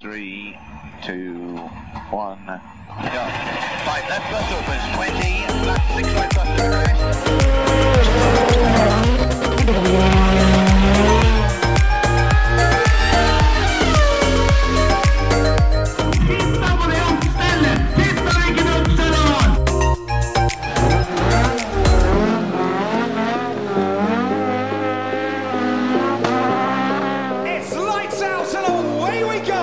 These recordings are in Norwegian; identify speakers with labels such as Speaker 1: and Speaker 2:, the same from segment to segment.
Speaker 1: three, two, one, go. Right, left bus opens, 20, left six right bus turn right.
Speaker 2: It's lights out and away we go!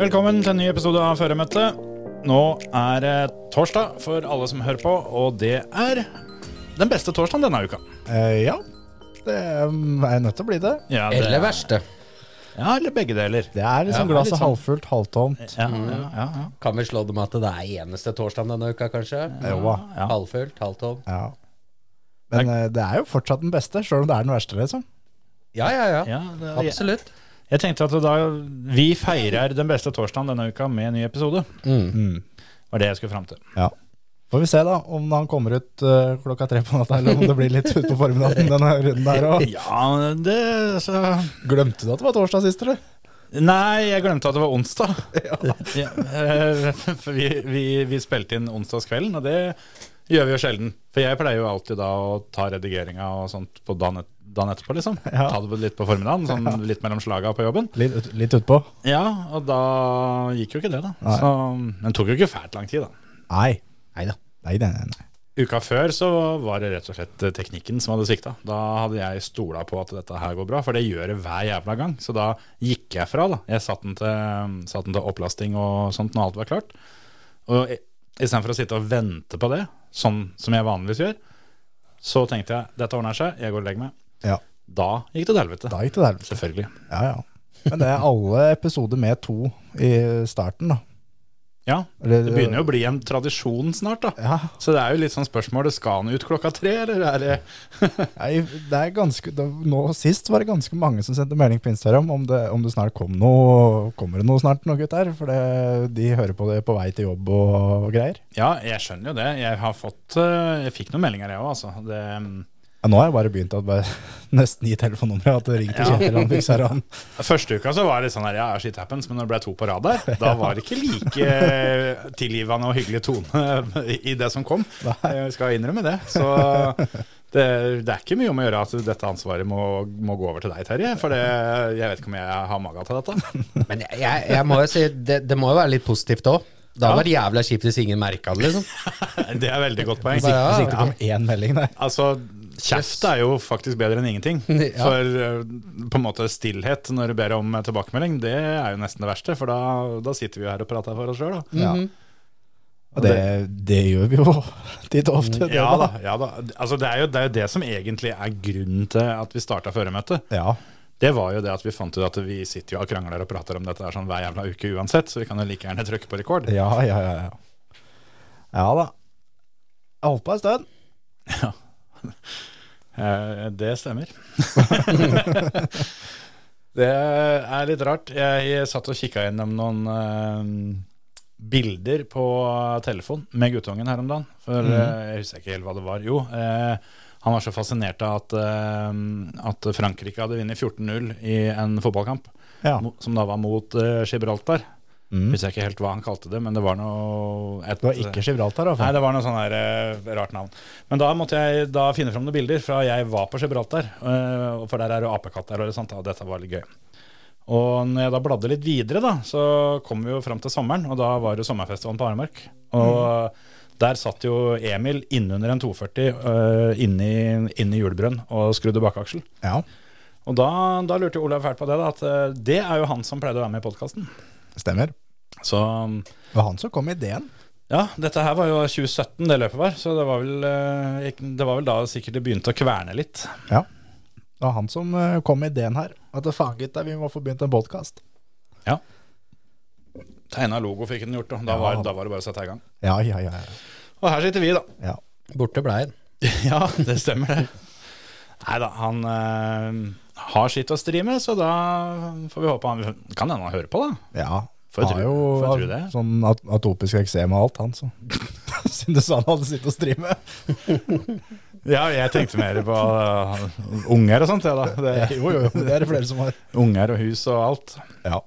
Speaker 3: Velkommen til en ny episode av Føremøtet. Nå er det torsdag for alle som hører på, og det er den beste torsdagen denne uka.
Speaker 4: Eh, ja, det um, er nødt til å bli det.
Speaker 3: Ja, det-
Speaker 5: Eller verste.
Speaker 3: Ja, eller begge deler.
Speaker 4: Det
Speaker 3: Ja,
Speaker 4: er liksom
Speaker 3: det er
Speaker 4: glasset
Speaker 3: litt sånn.
Speaker 4: halvfullt, halvtomt.
Speaker 3: Ja, ja, ja, ja.
Speaker 5: Kan vi slå det med at det er eneste torsdag denne uka, kanskje?
Speaker 4: Jo da.
Speaker 3: Ja.
Speaker 5: Halvfullt, halvtom.
Speaker 4: Ja. Men eh, det er jo fortsatt den beste, sjøl om det er den verste, liksom.
Speaker 5: Ja, ja, ja.
Speaker 3: Ja, det, jeg,
Speaker 5: Absolutt.
Speaker 3: jeg tenkte at da vi feirer den beste torsdagen denne uka med en ny episode. Mm. Var det jeg skulle fram til.
Speaker 4: Ja. Får vi se da om han kommer ut eh, klokka tre på natta, eller om det blir litt utpå formiddagen denne runden der òg.
Speaker 3: Ja, det så
Speaker 4: Glemte du at det var torsdag sist, eller?
Speaker 3: Nei, jeg glemte at det var onsdag. Ja, eh, for vi, vi, vi spilte inn onsdagskvelden, og det gjør vi jo sjelden. For jeg pleier jo alltid da å ta redigeringa og sånt på dagen, et, dagen etterpå, liksom.
Speaker 4: Ja.
Speaker 3: Ta det litt på formiddagen, sånn litt mellom slaga på jobben.
Speaker 4: Litt, ut- litt utpå?
Speaker 3: Ja, og da gikk jo ikke det, da.
Speaker 4: Nei.
Speaker 3: Så, men det tok jo ikke fælt lang tid, da.
Speaker 4: Nei.
Speaker 5: Neida.
Speaker 4: Nei, nei, nei, nei.
Speaker 3: Uka før så var det rett og slett eh, teknikken som hadde svikta. Da hadde jeg stola på at dette her går bra, for det gjør det hver jævla gang. Så da gikk jeg fra, da. Jeg satt den til, satt den til opplasting og sånt når alt var klart. Og i- istedenfor å sitte og vente på det, sånn som jeg vanligvis gjør, så tenkte jeg dette ordner seg, jeg går og legger meg.
Speaker 4: Ja,
Speaker 3: Da gikk det til helvete.
Speaker 4: da gikk det der.
Speaker 3: Selvfølgelig.
Speaker 4: Ja, ja. Men det er alle episoder med to i starten, da.
Speaker 3: Ja,
Speaker 4: Eller-
Speaker 3: det begynner jo å bli en tradisjon snart, da.
Speaker 4: Ja,
Speaker 3: Så det er jo litt sånn spørsmål, skal han ut klokka tre, eller er det
Speaker 4: Nei, det er ganske det, Nå sist var det ganske mange som sendte melding på Instagram om det, om det snart kom noe Kommer det noe snart noe gutt her? For det, de hører på det på vei til jobb og, og greier
Speaker 3: Ja, jeg skjønner jo det. Jeg har fått eh, Jeg fikk noen meldinger, jeg òg, altså. Det, mm,
Speaker 4: ja, Nå har jeg bare begynt å bare, nesten gi telefonnummeret at det ringer til
Speaker 3: Ja.
Speaker 4: Kjetil han fikser han
Speaker 3: Første uka så var det litt sånn her, ja, shit happens, men når det ble to på rad der, da var det ikke like eh, tilgivende og hyggelig tone i det som kom. Jeg skal innrømme det. Så det, det er ikke mye om å gjøre at dette ansvaret må, må gå over til deg, Terje. For det, jeg vet ikke om jeg har maga til dette.
Speaker 5: Men jeg, jeg, jeg må jo si, det, det må jo være litt positivt òg. Da
Speaker 3: Ja.
Speaker 5: var det jævla kjipt hvis ingen merka det, liksom.
Speaker 3: Det er veldig godt poeng.
Speaker 5: Hvis ikke- hvis ikke
Speaker 4: Det kom én melding der
Speaker 3: Altså, kjeft er jo faktisk bedre enn ingenting.
Speaker 5: Ja.
Speaker 3: For eh, på en måte stillhet når du ber om eh, tilbakemelding, det er jo nesten det verste. For da, da sitter vi jo her og prater for oss sjøl, da.
Speaker 4: ja. Og det, det gjør vi jo titt og ofte det
Speaker 3: Ja da. ja da. Altså, det, er jo, det er jo det som egentlig er grunnen til at vi starta føremøtet.
Speaker 4: Ja,
Speaker 3: Det var jo det at vi fant ut at vi sitter jo og krangler og prater om dette her sånn hver jævla uke uansett, så vi kan jo like gjerne trykke på rekord.
Speaker 4: ja, ja, ja Ja, ja da Jeg holdt på en stund
Speaker 3: Eh, Det stemmer. det er litt rart. Jeg satt og kikka gjennom noen eh, bilder på telefon med guttungen her om dagen. For
Speaker 4: Mhm.
Speaker 3: eh, jeg husker ikke helt hva det var. Jo, eh, han var så fascinert av at, eh, at Frankrike hadde vunnet 14-0 i en fotballkamp,
Speaker 4: Ja,
Speaker 3: mo- som da var mot eh, Gibraltar.
Speaker 4: Mhm.
Speaker 3: Husker jeg ikke helt hva han kalte det, men det var noe et,
Speaker 4: det var ikke Gibraltar da
Speaker 3: Nei,
Speaker 4: for-
Speaker 3: det var noe sånn her eh, rart navn. Men da måtte jeg da finne fram noen bilder fra jeg var på Gibraltar. eh, for der er det apekatter og det sånt, og dette var litt gøy. Og når jeg da bladde litt videre, da, så kom vi jo fram til sommeren, og da var det jo sommerfestivalen på Aremark. Og der satt jo Emil innunder en 240 uh, inni, inni julebrønn og skrudde bakaksel.
Speaker 4: Ja,
Speaker 3: Og da, da lurte jo Olav fælt på det, da, at eh, det er jo han som pleide å være med i podkasten.
Speaker 4: stemmer
Speaker 3: Så
Speaker 4: Det var han som kom med ideen
Speaker 3: Ja, dette her var jo 2017 det løpet var, så det var vel, eh, ikke- det var vel da sikkert det begynte å kverne litt.
Speaker 4: Ja. Det var han som eh, kom med ideen her. At faen, gutta, vi må få begynt en podkast.
Speaker 3: Ja. Tegna logo fikk den gjort, og da,
Speaker 4: Ja.
Speaker 3: var, da var det bare å sette i gang.
Speaker 4: Ja, ja, ja.
Speaker 3: Og her sitter vi, da.
Speaker 4: ja.
Speaker 5: Borte blei den.
Speaker 3: ja, det stemmer det. Nei da, han eh, har sitt å stri med, så da får vi håpe han Kan hende han hører på, da.
Speaker 4: ja.
Speaker 3: Får jeg
Speaker 4: Han
Speaker 3: tro-
Speaker 4: har jo
Speaker 3: får jeg tro det?
Speaker 4: sånn at atopisk eksem og alt, han, så. Siden du sa han hadde sittet og streamet.
Speaker 3: Ja, jeg tenkte mer på uh, unger og sånt, jeg, da. Det,
Speaker 4: Jo, jo, jo, det er det flere som har.
Speaker 3: unger og hus og alt.
Speaker 4: Ja.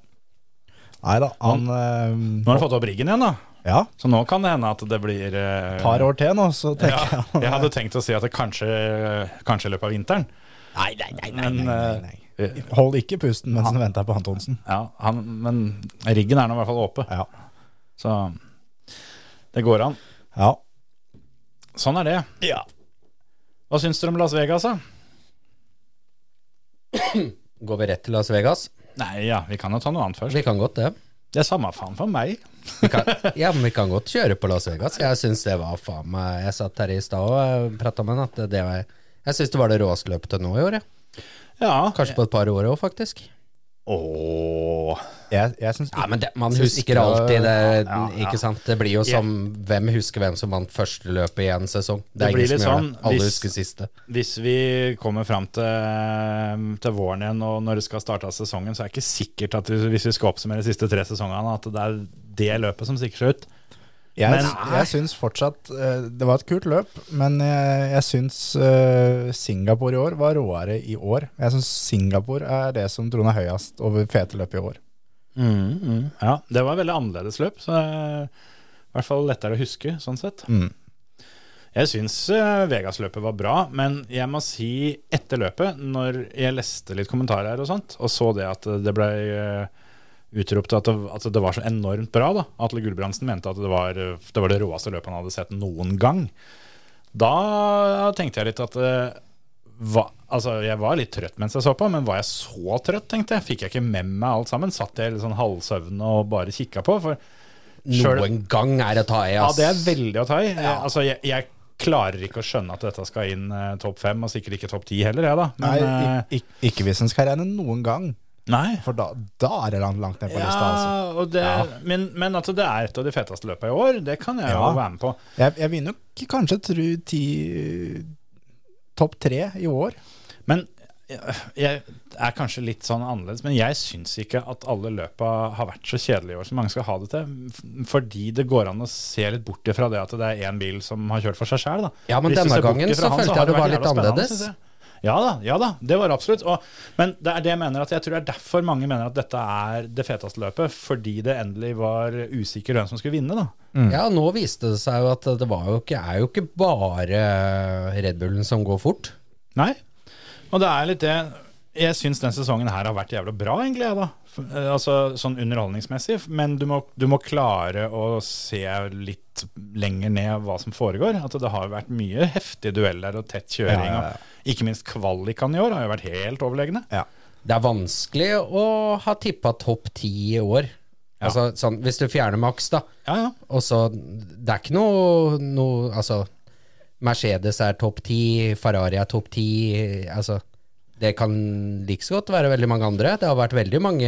Speaker 4: Nei da, han eh,
Speaker 3: Nå har han fått opp riggen igjen, da.
Speaker 4: Ja,
Speaker 3: Så nå kan det hende at det blir eh,
Speaker 4: et par år til nå, så tenker
Speaker 3: Ja,
Speaker 4: jeg
Speaker 3: jeg hadde tenkt å si at det kanskje, kanskje i løpet av vinteren.
Speaker 4: Nei, nei, nei, nei,
Speaker 3: Men,
Speaker 4: nei,
Speaker 3: eh,
Speaker 4: nei, nei. Hold ikke pusten mens du venter på Antonsen.
Speaker 3: Ja, han, men riggen er nå i hvert fall åpe,
Speaker 4: Ja.
Speaker 3: så det går an.
Speaker 4: ja.
Speaker 3: Sånn er det. Hva syns dere om Las Vegas, da?
Speaker 5: Går vi rett til Las Vegas?
Speaker 3: Nei, ja, vi kan jo ta noe annet først.
Speaker 5: Vi kan godt det.
Speaker 3: Det er samme faen for meg.
Speaker 5: Vi kan, ja, men vi kan godt kjøre på Las Vegas. Jeg syns det var faen meg Jeg satt her i stad og prata med han at det var Jeg syns det var det råeste løpet til nå i år, jeg.
Speaker 3: Ja.
Speaker 5: Kanskje på et par år òg, faktisk.
Speaker 3: Åh.
Speaker 4: Jeg, jeg syns
Speaker 5: Ja, men det, Man
Speaker 4: Syns ikke
Speaker 5: husker
Speaker 4: det var-
Speaker 5: alltid det, ikke sant? Det blir jo som Hvem husker hvem som vant første løpet i en sesong? Det
Speaker 3: Det
Speaker 5: er
Speaker 3: blir
Speaker 5: ingen
Speaker 3: litt
Speaker 5: som gjør
Speaker 3: sånn,
Speaker 5: det. Alle
Speaker 3: hvis-
Speaker 5: husker siste.
Speaker 3: Hvis vi kommer fram til, til våren igjen og når det skal starte av sesongen, så er det ikke sikkert at vi- hvis vi skal oppsummere de siste tre sesongene, at det er det løpet som stikker seg ut.
Speaker 4: Jeg,
Speaker 3: Men-
Speaker 4: jeg syns fortsatt eh, Det var et kult løp, men jeg, jeg syns eh, Singapore i år var råere i år. Jeg syns Singapore er det som troner høyest over fete løp i år.
Speaker 3: Ja, det var et veldig annerledes løp, så eh, i hvert fall lettere å huske, sånn sett.
Speaker 4: Mm.
Speaker 3: Jeg syns eh, Vegas-løpet var bra, men jeg må si etter løpet, når jeg leste litt kommentarer her og sånt, og så det at det ble eh, utropt at det, at det var så enormt bra, da. Atle Gulbrandsen mente at det var, eh, det var det råeste løpet han hadde sett noen gang. Da tenkte jeg litt at eh, hva, altså Jeg var litt trøtt mens jeg så på, men var jeg så trøtt, tenkte jeg? Fikk jeg ikke med meg alt sammen? Satt jeg litt sånn halvsøvne og bare kikka på? For Sjøl-
Speaker 5: Noen gang er det å ta i,
Speaker 3: ja,
Speaker 5: ass.
Speaker 3: det er veldig å ta i. Jeg, altså, jeg, jeg klarer ikke å skjønne at dette skal inn eh, topp fem, og sikkert ikke topp ti heller, jeg, da.
Speaker 4: Nei,
Speaker 3: Men, eh,
Speaker 4: ik, ik, ikke hvis en skal regne noen gang,
Speaker 3: nei.
Speaker 4: for da, da er det langt, langt ned på lista. Altså.
Speaker 3: Ja, og det, Men, men at det er et av de feteste løpa i år, det kan jeg
Speaker 4: Ja.
Speaker 3: jo være med på.
Speaker 4: Jeg, jeg vil nok kanskje tro ti topp tre i år.
Speaker 3: Men jeg, jeg er kanskje litt sånn annerledes, men jeg syns ikke at alle løpa har vært så kjedelige i år som mange skal ha det til. f- Fordi det går an å se litt bort ifra det at det er én bil som har kjørt for seg sjæl, da.
Speaker 5: Ja, men
Speaker 3: Hvis du
Speaker 5: denne
Speaker 3: ser bort
Speaker 5: gangen
Speaker 3: ifra
Speaker 5: så
Speaker 3: han,
Speaker 5: følte
Speaker 3: har
Speaker 5: jeg det
Speaker 3: vært
Speaker 5: var litt
Speaker 3: jævla spennende,
Speaker 5: annerledes.
Speaker 3: synes jeg. Ja da, ja da, det var det absolutt. Og, men det er det jeg mener at jeg tror det er derfor mange mener at dette er det feteste løpet. Fordi det endelig var usikker hvem som skulle vinne, da.
Speaker 5: Mm. Ja, nå viste det seg jo at det var jo ikke, er jo ikke bare Red Bullen som går fort.
Speaker 3: Nei. Og det er litt det Jeg syns den sesongen her har vært jævla bra, egentlig. jeg, Da. F- eh, Altså sånn underholdningsmessig. f- Men du må, du må klare å se litt lenger ned hva som foregår. At det har vært mye heftige dueller og tett kjøring.
Speaker 4: Ja, ja, ja.
Speaker 3: Og ikke minst kvalikene i år har jo vært helt overlegne.
Speaker 4: Ja.
Speaker 5: Det er vanskelig å ha tippa topp ti i år. Altså, sånn, hvis du fjerner maks, da.
Speaker 3: Ja, ja.
Speaker 5: Og så Det er ikke noe, noe Altså, Mercedes er topp ti, Ferrari er topp ti. Altså, det kan like så godt være veldig mange andre. Det har vært veldig mange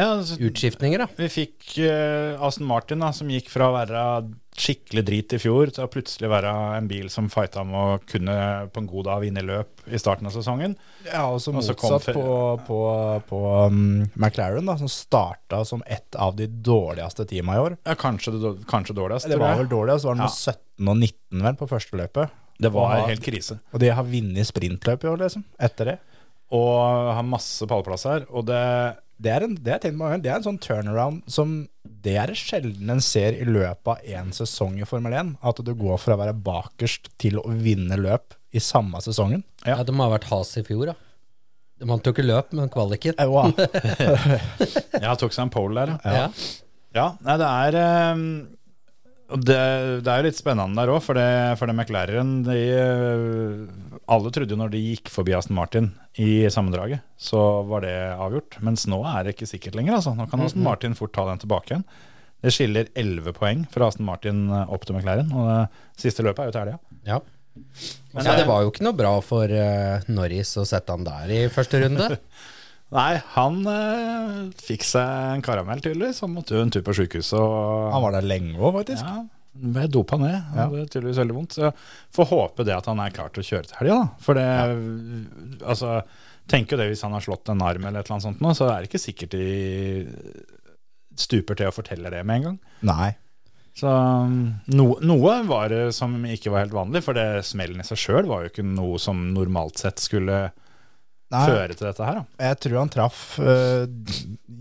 Speaker 3: ja altså,
Speaker 5: utskiftninger, da.
Speaker 3: Vi fikk eh, Aston Martin, da, som gikk fra å være skikkelig drit i fjor til å plutselig være en bil som fighta om å kunne på en god dag vinne løp i starten av sesongen.
Speaker 4: Ja, og så
Speaker 3: Og så
Speaker 4: motsatt
Speaker 3: kom fe-
Speaker 4: på, på, på um, McLaren, da, som starta som et av de dårligste teama i år.
Speaker 3: Ja, kanskje, det, kanskje dårligst.
Speaker 4: Det
Speaker 3: tror
Speaker 4: var
Speaker 3: jeg.
Speaker 4: vel dårlig, og så var det
Speaker 3: Ja.
Speaker 4: noe 17 og 19 vel på første løpet.
Speaker 3: Det var
Speaker 4: Og-
Speaker 3: helt krise.
Speaker 4: Og de har vunnet sprintløp i år, liksom. Etter det.
Speaker 3: Og har masse pallplasser. Og det
Speaker 4: Det er en, det er, tenkt mange ganger, det er en sånn turnaround som Det er det sjelden en ser i løpet av én sesong i Formel 1. At du går fra å være bakerst til å vinne løp i samme sesongen.
Speaker 3: Ja.
Speaker 5: Ja. det må ha vært has i fjor, da. De vant jo ikke løp, men kvaliken.
Speaker 4: Eh, wow.
Speaker 3: Ja, tok seg en pole der, ja.
Speaker 5: Ja.
Speaker 3: ja nei, det er eh, og det, det er jo litt spennende der òg, for det, for det McLaren de, eh, Alle trodde jo når de gikk forbi Aston Martin i sammendraget, så var det avgjort. Mens nå er det ikke sikkert lenger. Altså. Nå kan Aston Martin fort ta den tilbake igjen. Det skiller 11 poeng fra Aston Martin eh, opp til McLaren, og det siste løpet er jo til helga.
Speaker 5: Ja.
Speaker 3: Men
Speaker 5: ja,
Speaker 3: det-
Speaker 5: det var jo ikke noe bra for eh, Norris å sette han der i første runde.
Speaker 3: Nei, han eh, fikk seg en karamell tydeligvis. Han måtte jo en tur på sjukehuset. Og,
Speaker 4: Han var der lenge òg, faktisk.
Speaker 3: ja, ble dopa ned. Han hadde tydeligvis veldig vondt. Så jeg får håpe det at han er klar til å kjøre til helga, da. For det Altså, tenk jo det hvis han har slått en arm eller et eller annet sånt nå, så er det ikke sikkert de stuper til å fortelle det med en gang.
Speaker 4: Nei.
Speaker 3: Så um, no, noe var det som ikke var helt vanlig, for det smellen i seg sjøl var jo ikke noe som normalt sett skulle
Speaker 4: Nei,
Speaker 3: føre til dette her. Da.
Speaker 4: jeg tror han traff øh,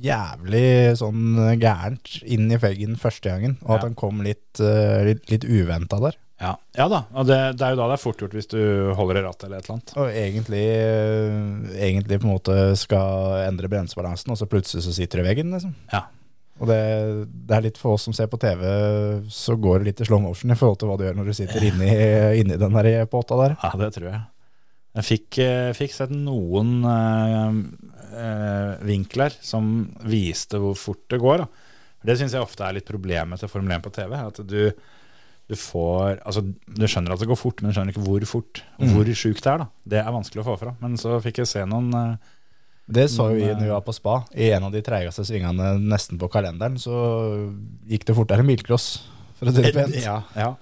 Speaker 4: jævlig sånn gærent inn i veggen første gangen, og at
Speaker 3: Ja.
Speaker 4: han kom litt, øh, litt, litt uventa der.
Speaker 3: Ja. ja da, og det, det er jo da det er fort gjort hvis du holder i rattet eller et eller annet.
Speaker 4: Og egentlig, øh, egentlig på en måte skal endre bremsebalansen, og så plutselig så sitter du i veggen, liksom.
Speaker 3: Ja.
Speaker 4: Og det, det er litt for oss som ser på TV, så går det litt i slow motion i forhold til hva du gjør når du sitter inni, inni den der båta der.
Speaker 3: Ja, det tror jeg. Jeg fikk, eh, fikk sett noen eh, eh, vinkler som viste hvor fort det går. Da. For Det syns jeg ofte er litt problemet til Formel 1 på TV. At du, du får Altså, du skjønner at det går fort, men du skjønner ikke hvor fort. Og hvor sjukt det er, da. Det er vanskelig å få fra. Men så fikk jeg se noen eh,
Speaker 4: Det så jo vi
Speaker 3: Men,
Speaker 4: når vi var på spa. I en av de treigeste svingene nesten på kalenderen, så gikk det fortere enn bilcross, for å si det pent.
Speaker 3: Ja, ja.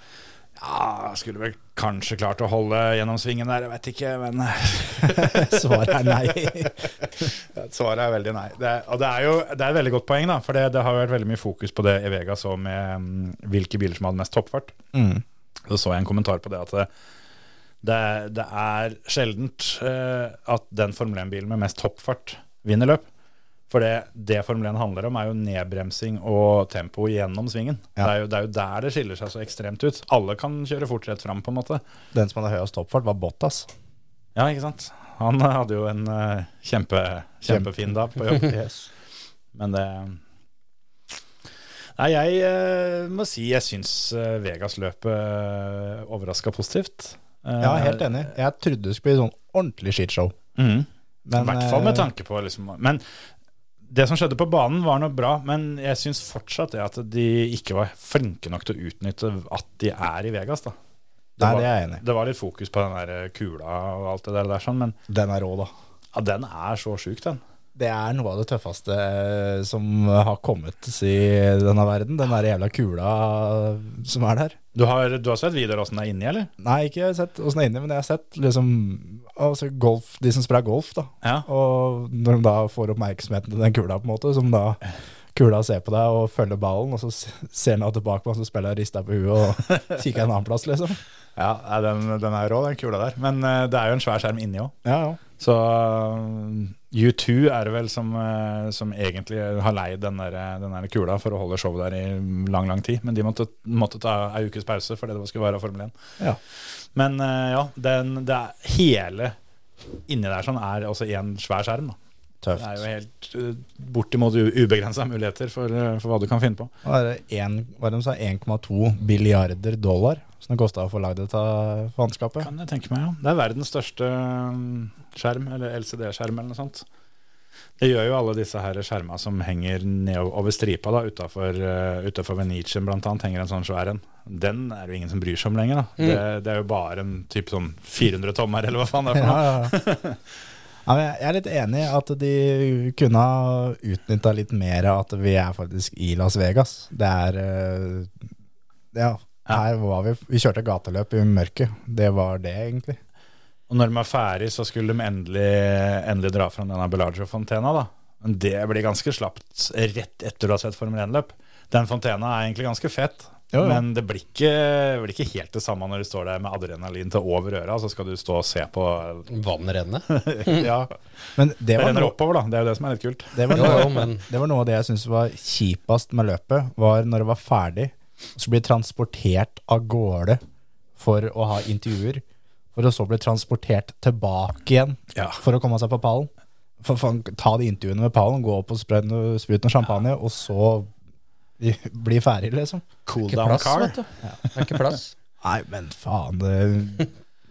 Speaker 3: ja, skulle vel kanskje klart å holde gjennom svingen der, jeg vet ikke, men
Speaker 4: Svaret er nei.
Speaker 3: Svaret er veldig nei. Det er, og det er jo det er et veldig godt poeng, da, for det, det har vært veldig mye fokus på det i Vegas og med mm, hvilke biler som hadde mest toppfart.
Speaker 4: Mm.
Speaker 3: Så så jeg en kommentar på det at det, det, er- det er sjeldent eh, at den Formel 1-bilen med mest toppfart vinner løp. For det, det Formel 1 handler om, er jo nedbremsing og tempo gjennom svingen. Det,
Speaker 4: Ja.
Speaker 3: er jo, det er jo der det skiller seg så ekstremt ut. Alle kan kjøre fort rett fram, på en måte.
Speaker 4: Den som hadde høyest toppfart, var Bottas.
Speaker 3: Ja, ikke sant? Han eh, hadde jo en eh, kjempe, kjempefin dag på jobb. Men det Nei, jeg eh, må si jeg syns eh, Vegas-løpet eh, overraska positivt. Eh,
Speaker 4: Ja, helt enig. Jeg trodde det skulle bli sånn ordentlig skishow.
Speaker 3: Mhm.
Speaker 4: Men,
Speaker 3: I hvert fall med
Speaker 4: eh,
Speaker 3: tanke på liksom, Men det som skjedde på banen, var noe bra. Men jeg syns fortsatt det at de ikke var flinke nok til å utnytte at de er i Vegas. da
Speaker 4: Nei,
Speaker 3: var-
Speaker 4: det er jeg enig i.
Speaker 3: Det var litt fokus på den der eh, kula og alt det der, der sånn, men
Speaker 4: Den er rå, da.
Speaker 3: ja, den er så sjuk, den.
Speaker 4: Det er noe av det tøffeste eh, som har kommet i denne verden. Den der jævla kula som er der.
Speaker 3: Du har, du har sett videoer åssen det er inni, eller?
Speaker 4: Nei, ikke sett åssen det er inne, men jeg har sett liksom altså golf, de som spiller golf, da.
Speaker 3: Ja.
Speaker 4: Og når de da får oppmerksomheten til den kula, på en måte, som da kula ser på deg og følger ballen, og så s- ser den da tilbake på den, så spiller jeg rista på huet og kikker en annen plass, liksom.
Speaker 3: Ja, nei, den, den er rå, den kula der. Men eh, det er jo en svær skjerm inni òg.
Speaker 4: Ja, ja.
Speaker 3: Så um, U2 er det vel som, eh, som egentlig har leid den der, eh, den der kula for å holde showet der i lang, lang tid. Men de måtte, måtte ta ei ukes pause fordi det skulle være Formel 1.
Speaker 4: Ja.
Speaker 3: Men eh, ja, den, det er hele inni der sånn er også én svær skjerm. da. Det er jo
Speaker 4: Tøft.
Speaker 3: helt eh, bortimot ubegrensa muligheter for, eh, for hva du kan finne på.
Speaker 4: Hva er det en, hva er det de sa, 1,2 billiarder dollar som det kosta å få lagd dette faenskapet?
Speaker 3: Kan jeg tenke meg, ja. Det er verdens største um, skjerm, eller LCD-skjerm eller noe sånt. Det gjør jo alle disse her skjerma som henger nedover stripa da, utafor, uh, utafor Venetian blant annet, henger en sånn svær en. Den er jo ingen som bryr seg om lenger da.
Speaker 4: Mm.
Speaker 3: Det, det er jo bare en typ sånn 400 tommer eller hva faen det er for noe.
Speaker 4: Ja, ja. Ja, men jeg er litt enig i at de kunne ha utnytta litt mer av at vi er faktisk i Las Vegas. Det er eh, Ja, her var vi. Vi kjørte gateløp i mørket. Det var det, egentlig.
Speaker 3: Og når de er ferdig så skulle de endelig, endelig dra fram denne Bellagio-fontena da. Men det blir ganske slappt rett etter du har sett Formel 1-løp. Den fontena er egentlig ganske fett,
Speaker 4: Jo, jo.
Speaker 3: men det blir, ikke, det blir ikke helt det samme når du står der med adrenalin til over øra, så skal du stå og se på
Speaker 5: Vann renne.
Speaker 3: Ja,
Speaker 4: Men det
Speaker 3: det
Speaker 4: var,
Speaker 3: renner
Speaker 4: no,
Speaker 3: oppover, da. Det er jo det som er litt kult.
Speaker 4: det, var
Speaker 5: Jo, jo,
Speaker 4: noe,
Speaker 5: men
Speaker 4: det var noe av det jeg syntes var kjipest med løpet, var når det var ferdig, så bli transportert av gårde for å ha intervjuer, for å så bli transportert tilbake igjen
Speaker 3: Ja.
Speaker 4: for å komme seg på pallen. For faen, ta de intervjuene med pallen, gå opp og sprøyte noe, sprut noe champagne, og så bli, bli ferdig, liksom.
Speaker 3: Cool
Speaker 5: ikke
Speaker 3: down
Speaker 5: plass,
Speaker 3: car.
Speaker 5: vet du. Det er ikke plass.
Speaker 4: Nei, men faen, det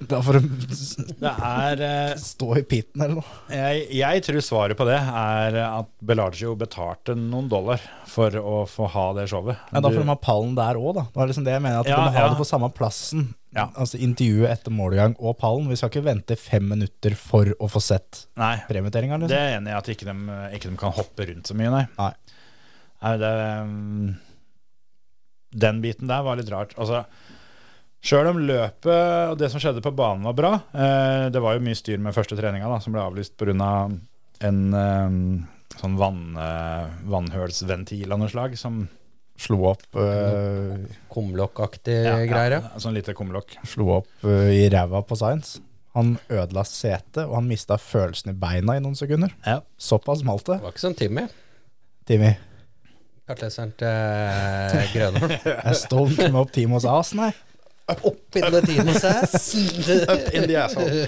Speaker 4: Da får du s-
Speaker 3: Det er eh,
Speaker 4: stå i pitten eller noe.
Speaker 3: jeg, jeg tror svaret på det er at Bellagio betalte noen dollar for å få ha det showet.
Speaker 4: Ja, da får
Speaker 3: Du-
Speaker 4: de ha pallen der òg, da. Det er liksom det jeg mener, at
Speaker 3: Ja,
Speaker 4: de må ha
Speaker 3: ja.
Speaker 4: det på samme plassen.
Speaker 3: Ja.
Speaker 4: Altså intervjuet etter målgang og pallen. Vi skal ikke vente fem minutter for å få sett
Speaker 3: Nei,
Speaker 4: premietteringa,
Speaker 3: Det
Speaker 4: liksom.
Speaker 3: er jeg enig i, at ikke de, ikke de kan hoppe rundt så mye, nei.
Speaker 4: Nei.
Speaker 3: Nei, det, um, den biten der var litt rart. Altså, Sjøl om løpet og det som skjedde på banen var bra, eh, det var jo mye styr med første treninga da, som ble avlyst pga. Av um, en eh, sånn vann, eh, vannhølsventil av noe slag som
Speaker 4: Slo opp, eh,
Speaker 5: Kumlokkaktig greier, ja.
Speaker 3: Sånn lite kumlokk.
Speaker 4: slo opp eh, i ræva på Science. Han ødela setet, og han mista følelsen i beina i noen sekunder.
Speaker 3: Ja.
Speaker 4: Såpass smalt det.
Speaker 5: Det var ikke sånn Timmy.
Speaker 4: Timmy.
Speaker 5: Kartleseren til eh, Grønholm.
Speaker 4: Jeg stole came up Timos ass, nei.
Speaker 5: Opp in the tiendes ass.
Speaker 4: Up in the asshole.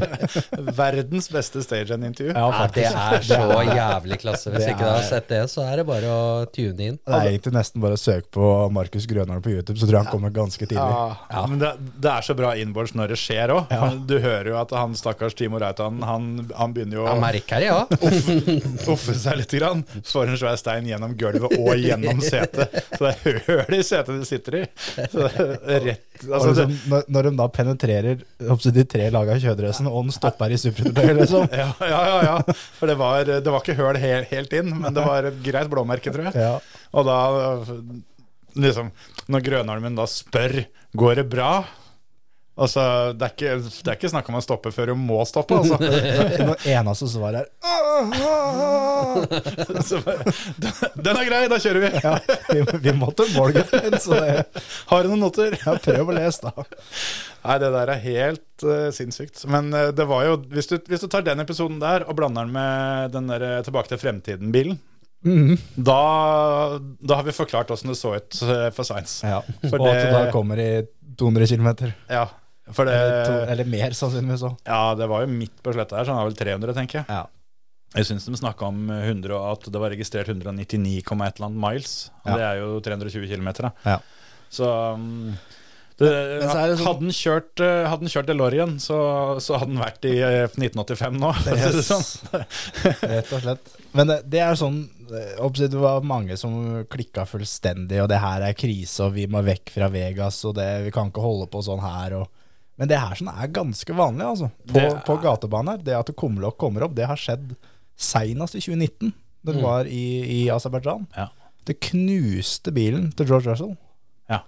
Speaker 4: Verdens beste stage and interview.
Speaker 3: Ja,
Speaker 5: Nei, det
Speaker 3: faktisk.
Speaker 5: er så jævlig klasse. Hvis
Speaker 4: Det
Speaker 5: ikke du har
Speaker 4: er-
Speaker 5: sett det, så er det bare å tune inn.
Speaker 4: Det er egentlig nesten bare å søke på Markus Grønholm på YouTube, så tror jeg han kommer ganske tidlig.
Speaker 3: Ja, men det, det er så bra innbords når det skjer òg. Du hører jo at han stakkars Timo Reitan han, han begynner jo
Speaker 5: Jeg
Speaker 3: å
Speaker 5: merker det, ja.
Speaker 3: offe seg litt. Grann. Så får en svær stein gjennom gulvet og gjennom setet. Så det er høl i setet du sitter i. Så det er rett altså,
Speaker 4: Og
Speaker 3: det,
Speaker 4: liksom, når, når de da penetrerer oppsett, de tre laga i kjødrøsen, og den stopper i superundertøyet, liksom.
Speaker 3: ja, ja, ja, ja. For det var, det var ikke høl he, helt inn, men det var et greit blåmerke, tror jeg.
Speaker 4: Ja.
Speaker 3: Og da liksom Når Grønholmen da spør Går det bra? Altså, det er, ikke, det er ikke snakk om å stoppe før du må stoppe, altså.
Speaker 4: Det eneste svaret er
Speaker 3: Så bare, Den er grei, da kjører vi!
Speaker 4: Ja, vi, vi måtte mål, gutten, så det,
Speaker 3: Har du noen noter?
Speaker 4: ja, prøv å lese, da.
Speaker 3: Nei, det der er helt eh, sinnssykt. Men eh, det var jo hvis du, hvis du tar den episoden der og blander den med den der eh, Tilbake til fremtiden-bilen,
Speaker 4: Mhm.
Speaker 3: da, da har vi forklart åssen det så ut eh, for Science.
Speaker 4: Ja.
Speaker 3: For
Speaker 4: og at
Speaker 3: det-
Speaker 4: du da kommer i 200 km.
Speaker 3: Ja, for
Speaker 4: Eller, to,
Speaker 3: det,
Speaker 4: eller mer, sannsynligvis òg.
Speaker 3: ja, det var jo midt på sletta her, så han har vel 300, tenker jeg. Jeg syns de snakka om 100, og at det var registrert 199,1 eller annet miles. Og
Speaker 4: Ja.
Speaker 3: det er jo 320 km, da.
Speaker 4: Ja.
Speaker 3: Så um, det,
Speaker 4: Men så er det sånn-
Speaker 3: Hadde han kjørt, eh, hadde han kjørt DeLorean, så, så hadde han vært i eh, 1985 nå. for å si det
Speaker 4: Yes.
Speaker 3: sånn.
Speaker 4: Rett og slett. Men det, det er sånn eh, oppsett, Det var mange som klikka fullstendig, og det her er krise, og vi må vekk fra Vegas, og det, vi kan ikke holde på sånn her. Og, men det her sånn er ganske vanlig, altså. På,
Speaker 3: Det er-
Speaker 4: på gatebanen her. Det at kumlokk kommer opp, det har skjedd seinest i 2019, da det var i, i Aserbajdsjan.
Speaker 3: Mm. Ja.
Speaker 4: Det knuste bilen til George Russell.
Speaker 3: Ja.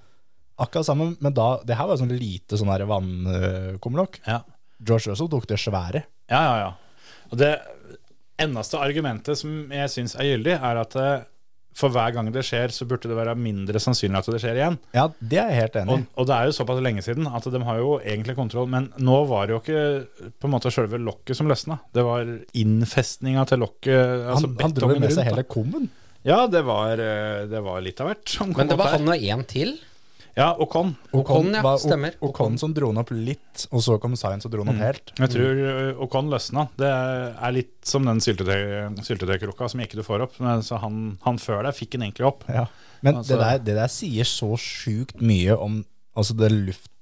Speaker 4: Akkurat sammen, men da, det her var sånn lite sånn her vannkumlokk.
Speaker 3: Ja.
Speaker 4: George Russell tok det svære.
Speaker 3: Ja, ja, ja. Og det eneste argumentet som jeg syns er gyldig, er at eh, for hver gang det skjer, så burde det være mindre sannsynlig at det skjer igjen.
Speaker 4: Ja, det er jeg helt enig i.
Speaker 3: Og, og det er jo såpass lenge siden at de har jo egentlig kontroll, men nå var det jo ikke på en måte selve lokket som løsna. Det var innfestninga til lokket. Altså
Speaker 4: han, han dro jo
Speaker 3: betongen
Speaker 4: med
Speaker 3: rundt,
Speaker 4: seg
Speaker 3: da.
Speaker 4: hele kummen.
Speaker 3: Ja, det var, eh, det var litt av hvert. som kom
Speaker 5: Men det
Speaker 3: opp
Speaker 5: var
Speaker 3: her.
Speaker 5: han og én til.
Speaker 3: Ja, og Con.
Speaker 5: Ocon, ja,
Speaker 4: var O-
Speaker 5: stemmer.
Speaker 4: Ocon som dro den opp litt, og så kom Science og dro den opp helt.
Speaker 3: Jeg tror eh, Ocon løsna. Det er litt som den syltetøy- syltetøykrukka som ikke du får opp. Men, så han, han før deg fikk den egentlig opp.
Speaker 4: Ja. Men
Speaker 3: Altså-
Speaker 4: det, der, det der sier så sjukt mye om altså det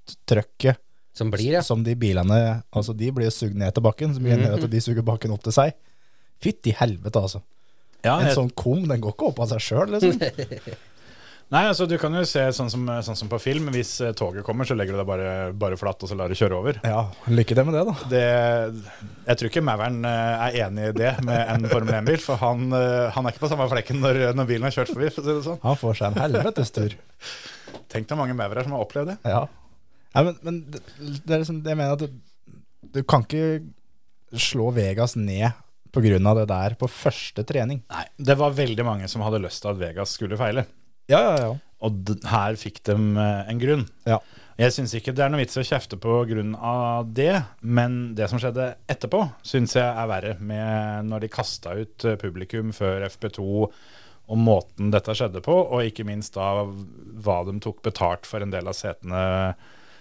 Speaker 4: lufttrykket
Speaker 5: Som blir, ja.
Speaker 4: som de bilene Altså, de blir jo sugd ned til bakken, som gjør at de suger bakken opp til seg. Fytti helvete, altså.
Speaker 3: Ja,
Speaker 4: En
Speaker 3: jeg-
Speaker 4: sånn kum, den går ikke opp av seg sjøl, liksom.
Speaker 3: Nei, altså Du kan jo se sånn som, sånn som på film. Hvis eh, toget kommer, så legger du deg bare, bare flatt og så lar det kjøre over.
Speaker 4: Ja, lykke til med det, da.
Speaker 3: Det, jeg tror ikke Mauren eh, er enig i det med en Formel 1-bil, for han, eh, han er ikke på samme flekken når, når bilen har kjørt forbi. For å si det sånn.
Speaker 4: Han får seg en helvetes tur.
Speaker 3: Tenk deg mange Maurer som har opplevd det.
Speaker 4: Ja. Nei, men, men det, det er liksom, det jeg mener at du, du kan ikke slå Vegas ned på grunn av det der på første trening.
Speaker 3: Nei, Det var veldig mange som hadde lyst til at Vegas skulle feile,
Speaker 4: Ja, ja, ja.
Speaker 3: og d her fikk de eh, en grunn.
Speaker 4: Ja.
Speaker 3: Jeg syns ikke det er noe vits i å kjefte på grunn av det, men det som skjedde etterpå, syns jeg er verre. Med når de kasta ut eh, publikum før FP2, og måten dette skjedde på, og ikke minst da hva de tok betalt for en del av setene.